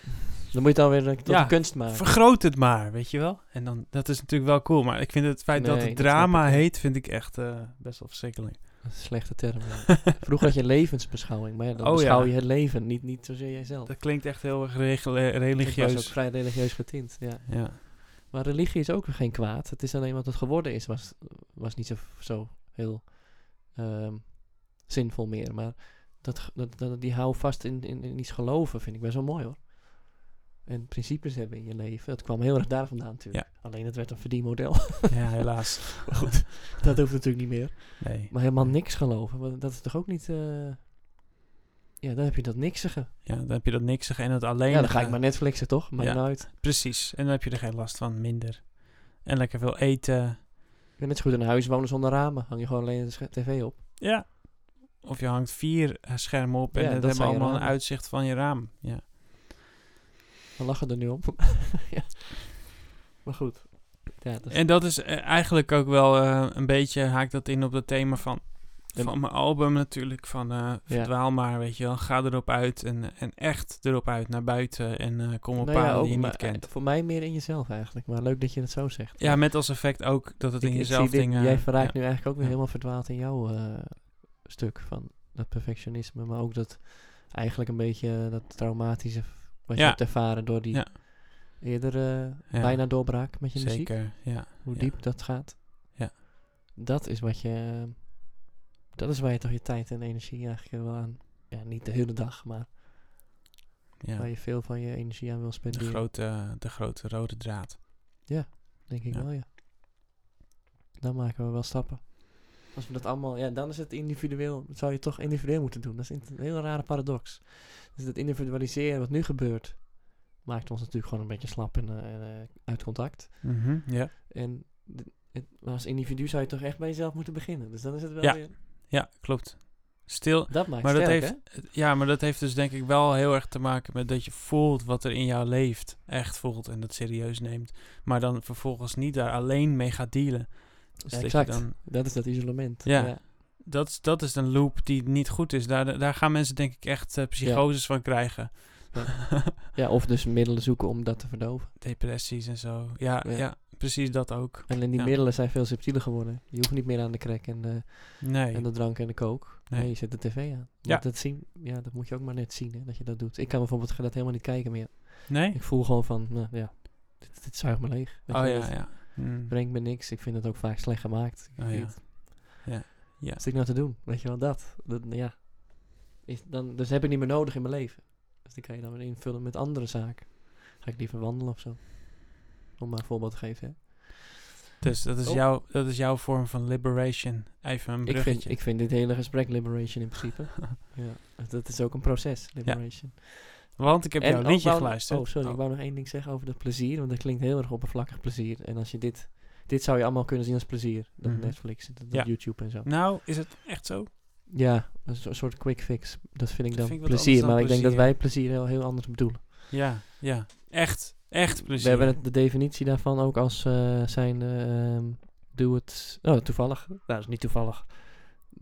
Speaker 2: Dan moet je het alweer eh, tot
Speaker 1: Ja,
Speaker 2: een kunst maken.
Speaker 1: Vergroot het maar, weet je wel. En dan, dat is natuurlijk wel cool. Maar ik vind het feit dat
Speaker 2: Nee,
Speaker 1: het
Speaker 2: dat snap
Speaker 1: drama
Speaker 2: ik, ja.
Speaker 1: heet, vind ik echt eh, best wel verschrikkelijk.
Speaker 2: Dat is een slechte term. ja. Vroeger had je levensbeschouwing, maar ja, dan
Speaker 1: Oh,
Speaker 2: beschouw
Speaker 1: ja.
Speaker 2: je het leven, niet, niet zozeer jijzelf.
Speaker 1: Dat klinkt echt heel erg regel- eh,
Speaker 2: Dat was ook
Speaker 1: religieus.
Speaker 2: vrij religieus getint, ja.
Speaker 1: Ja.
Speaker 2: Maar religie is ook geen kwaad. Het is alleen wat het geworden is, was, was niet zo, zo heel ehm, zinvol meer. Maar dat, ge- dat, dat, die hou vast in, in, in iets geloven vind ik best wel mooi hoor. En principes hebben in je leven, dat kwam heel erg daar vandaan natuurlijk. Alleen het werd een verdienmodel. *laughs*
Speaker 1: ja, helaas.
Speaker 2: Goed, dat hoeft natuurlijk niet meer.
Speaker 1: Nee.
Speaker 2: Maar helemaal niks geloven, want dat is toch ook niet... eh, Ja, dan heb je dat niksige.
Speaker 1: Ja, dan heb je dat niks en dat alleen.
Speaker 2: Ja, dan ga ik maar Netflixen, toch? Maakt
Speaker 1: Ja.
Speaker 2: nou uit.
Speaker 1: Precies. En dan heb je er geen last van, minder. En lekker veel eten.
Speaker 2: Je bent net zo goed in een huis wonen zonder ramen. Hang je gewoon alleen de sch- tv op.
Speaker 1: Ja. Of je hangt vier eh, schermen op en
Speaker 2: Ja,
Speaker 1: dat
Speaker 2: dat
Speaker 1: hebben
Speaker 2: zijn je
Speaker 1: allemaal een
Speaker 2: ramen.
Speaker 1: uitzicht van je raam. Ja.
Speaker 2: We lachen er nu
Speaker 1: *laughs*
Speaker 2: op. ja. Maar goed. Ja, dat is-
Speaker 1: En dat is eh, eigenlijk ook wel eh, een beetje haakt dat in op dat thema van
Speaker 2: En-
Speaker 1: van mijn album natuurlijk, van eh verdwaal maar, weet je wel. Ga erop uit en, en echt erop uit, naar buiten en eh, kom op
Speaker 2: Nou ja,
Speaker 1: paden
Speaker 2: ook,
Speaker 1: die je
Speaker 2: maar,
Speaker 1: niet kent.
Speaker 2: eh, Voor mij meer in jezelf eigenlijk. Maar leuk dat je het zo zegt.
Speaker 1: Ja, met als effect ook dat het
Speaker 2: Ik-
Speaker 1: in
Speaker 2: ik
Speaker 1: jezelf
Speaker 2: zie dit-
Speaker 1: dingen...
Speaker 2: Jij verraakt
Speaker 1: ja.
Speaker 2: nu eigenlijk ook weer
Speaker 1: Ja.
Speaker 2: helemaal verdwaald in jouw eh, stuk van dat perfectionisme. Maar ook dat eigenlijk een beetje eh, dat traumatische v- wat
Speaker 1: Ja.
Speaker 2: je hebt ervaren door die
Speaker 1: Ja.
Speaker 2: eerder eh,
Speaker 1: Ja.
Speaker 2: bijna doorbraak met je muziek.
Speaker 1: Zeker, ja.
Speaker 2: Hoe
Speaker 1: ja.
Speaker 2: diep dat gaat.
Speaker 1: Ja.
Speaker 2: Dat is wat je... eh, Dat is waar je toch je tijd en energie eigenlijk eh, wel aan... Ja, niet de hele dag, maar waar
Speaker 1: Ja,
Speaker 2: Oh, je veel van je energie aan wil
Speaker 1: de
Speaker 2: spenderen.
Speaker 1: grote, de grote rode draad.
Speaker 2: Denk ik
Speaker 1: Ja.
Speaker 2: wel, ja. Dan maken we wel stappen. Als we dat allemaal, ja, dan is het individueel. Dat zou je toch individueel moeten doen. Dat is een hele rare paradox. Dus dat individualiseren wat nu gebeurt, maakt ons natuurlijk gewoon een beetje slap en, eh, en, eh, uit contact.
Speaker 1: Mhm, ja.
Speaker 2: En d- het, maar als individu zou je toch echt bij jezelf moeten beginnen. Dus dan is het wel
Speaker 1: Ja.
Speaker 2: weer.
Speaker 1: ja, klopt. Stil,
Speaker 2: Dat maakt
Speaker 1: Maar dat
Speaker 2: sterk,
Speaker 1: heeft-
Speaker 2: hè?
Speaker 1: Ja, maar dat heeft dus denk ik wel heel erg te maken met dat je voelt wat er in jou leeft. Echt voelt en dat serieus neemt. Maar dan vervolgens niet daar alleen mee gaat dealen. Dus dat je
Speaker 2: exact.
Speaker 1: dan-
Speaker 2: Dat is dat isolement.
Speaker 1: Ja. dat, is- dat is een loop die niet goed is. Daar, daar gaan mensen denk ik echt eh, psychoses van krijgen.
Speaker 2: Ja, of dus middelen zoeken om dat te verdoven.
Speaker 1: Depressies en zo. Ja, ja.
Speaker 2: Ja.
Speaker 1: precies dat ook.
Speaker 2: En die
Speaker 1: Ja.
Speaker 2: middelen zijn veel subtieler geworden. Je hoeft niet meer aan de crack en eh,
Speaker 1: Nee.
Speaker 2: En de drank en de kook.
Speaker 1: Nee.
Speaker 2: Nee, je zet de tv aan. Want
Speaker 1: Ja.
Speaker 2: Dat, zien, ja, dat moet je ook maar net zien, hè, dat je dat doet. Ik kan bijvoorbeeld dat helemaal niet kijken meer.
Speaker 1: Nee?
Speaker 2: Ik voel gewoon van, nou ja, dit, dit zuigt me leeg. Weet
Speaker 1: Oh ja,
Speaker 2: je, dit
Speaker 1: ja. Hmm.
Speaker 2: brengt me niks. Ik vind het ook vaak slecht gemaakt. Ik
Speaker 1: Oh
Speaker 2: weet
Speaker 1: ja.
Speaker 2: het.
Speaker 1: Ja. Ja.
Speaker 2: Wat zit ik nou te doen? Weet je wel, dat. dat nou ja. Is, dan, dus heb ik niet meer nodig in mijn leven. Dus die kan je dan weer invullen met andere zaken. Ga ik liever wandelen of zo. Om maar een voorbeeld te geven, hè.
Speaker 1: Dus dat is,
Speaker 2: Oh.
Speaker 1: jouw, dat is jouw vorm van liberation. Even een
Speaker 2: Ik
Speaker 1: bruggetje.
Speaker 2: vind, ik vind dit hele gesprek liberation in
Speaker 1: *laughs*
Speaker 2: principe. ja, dat is ook een proces, liberation.
Speaker 1: Want ik heb jouw
Speaker 2: ook
Speaker 1: liedje
Speaker 2: wou-
Speaker 1: geluisterd.
Speaker 2: Oh, sorry. Ik wou nog één ding zeggen over dat plezier. Want dat klinkt heel erg oppervlakkig plezier. En als je dit... Dit zou je allemaal kunnen zien als plezier. Dat
Speaker 1: Mhm.
Speaker 2: Netflix, dat, dat
Speaker 1: Ja.
Speaker 2: YouTube en zo.
Speaker 1: Nou, is het echt zo?
Speaker 2: Ja, een so- soort quick fix. Dat vind
Speaker 1: Dat
Speaker 2: ik dan
Speaker 1: vind ik wat
Speaker 2: plezier.
Speaker 1: anders dan
Speaker 2: maar ik denk dat
Speaker 1: plezier.
Speaker 2: wij plezier heel, heel anders bedoelen.
Speaker 1: Ja, ja. Echt, echt plezier.
Speaker 2: We hebben het- de definitie daarvan ook als eh, zijn... eh, ehm, doe het... Oh, toevallig. Nou, dat is niet toevallig.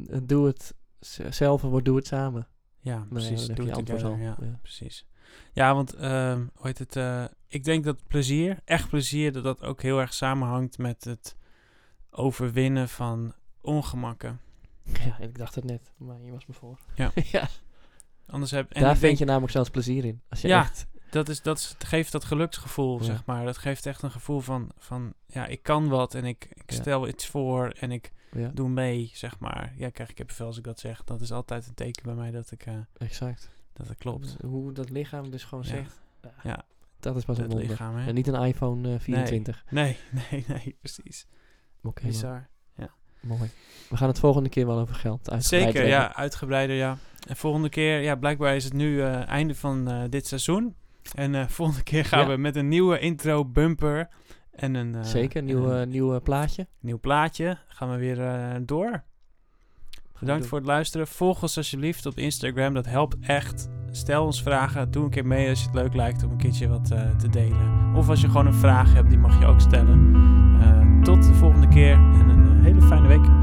Speaker 2: Eh, Doe het z- zelf of doe het samen.
Speaker 1: Ja,
Speaker 2: Nou ja,
Speaker 1: precies.
Speaker 2: dan heb
Speaker 1: Doe
Speaker 2: je
Speaker 1: het
Speaker 2: antwoord
Speaker 1: together,
Speaker 2: al.
Speaker 1: Ja,
Speaker 2: Ja.
Speaker 1: precies. Ja, want ehm, hoe heet het? eh, ik denk dat plezier, echt plezier, dat dat ook heel erg samenhangt met het overwinnen van ongemakken.
Speaker 2: Ja, ik dacht het net. Maar je was me voor.
Speaker 1: Ja.
Speaker 2: *laughs* ja.
Speaker 1: Anders heb en
Speaker 2: Daar
Speaker 1: ik
Speaker 2: vind
Speaker 1: denk,
Speaker 2: je namelijk zelfs plezier in. Als je
Speaker 1: Ja.
Speaker 2: echt...
Speaker 1: dat is dat is- het geeft dat geluksgevoel
Speaker 2: Ja.
Speaker 1: zeg maar. Dat geeft echt een gevoel van van ja, ik kan wat en ik, ik
Speaker 2: Ja.
Speaker 1: stel iets voor en ik
Speaker 2: Ja,
Speaker 1: doe mee zeg maar. Ja, krijg ik heb veel als ik dat zeg. Dat is altijd een teken bij mij dat ik eh,
Speaker 2: exact.
Speaker 1: dat het klopt.
Speaker 2: Dus Hoe dat lichaam dus gewoon
Speaker 1: Ja.
Speaker 2: zegt.
Speaker 1: Ja.
Speaker 2: Dat is pas een
Speaker 1: Het
Speaker 2: wonder.
Speaker 1: lichaam hè.
Speaker 2: En niet een iPhone eh, 24.
Speaker 1: Nee, *laughs* nee, nee, precies.
Speaker 2: Oké, man.
Speaker 1: Bizar.
Speaker 2: mooi. We gaan het volgende keer wel over geld uitgebreid
Speaker 1: Zeker,
Speaker 2: hebben.
Speaker 1: ja, uitgebreider, ja. En volgende keer, ja, blijkbaar is het nu eh, einde van eh, dit seizoen. En eh, *laughs* volgende keer gaan
Speaker 2: Ja.
Speaker 1: we met een nieuwe intro bumper en een, eh,
Speaker 2: Zeker,
Speaker 1: en
Speaker 2: nieuw,
Speaker 1: een
Speaker 2: eh, nieuw eh, plaatje.
Speaker 1: nieuw plaatje. Gaan we weer eh, door.
Speaker 2: Gaan we
Speaker 1: Bedankt
Speaker 2: doen.
Speaker 1: voor het luisteren. Volg ons alsjeblieft op Instagram, dat helpt echt. Stel ons vragen, doe een keer mee als je het leuk lijkt om een keertje wat eh, te delen. Of als je gewoon een vraag hebt, die mag je ook stellen. Eh, tot de volgende keer en een eh, hele fijne week.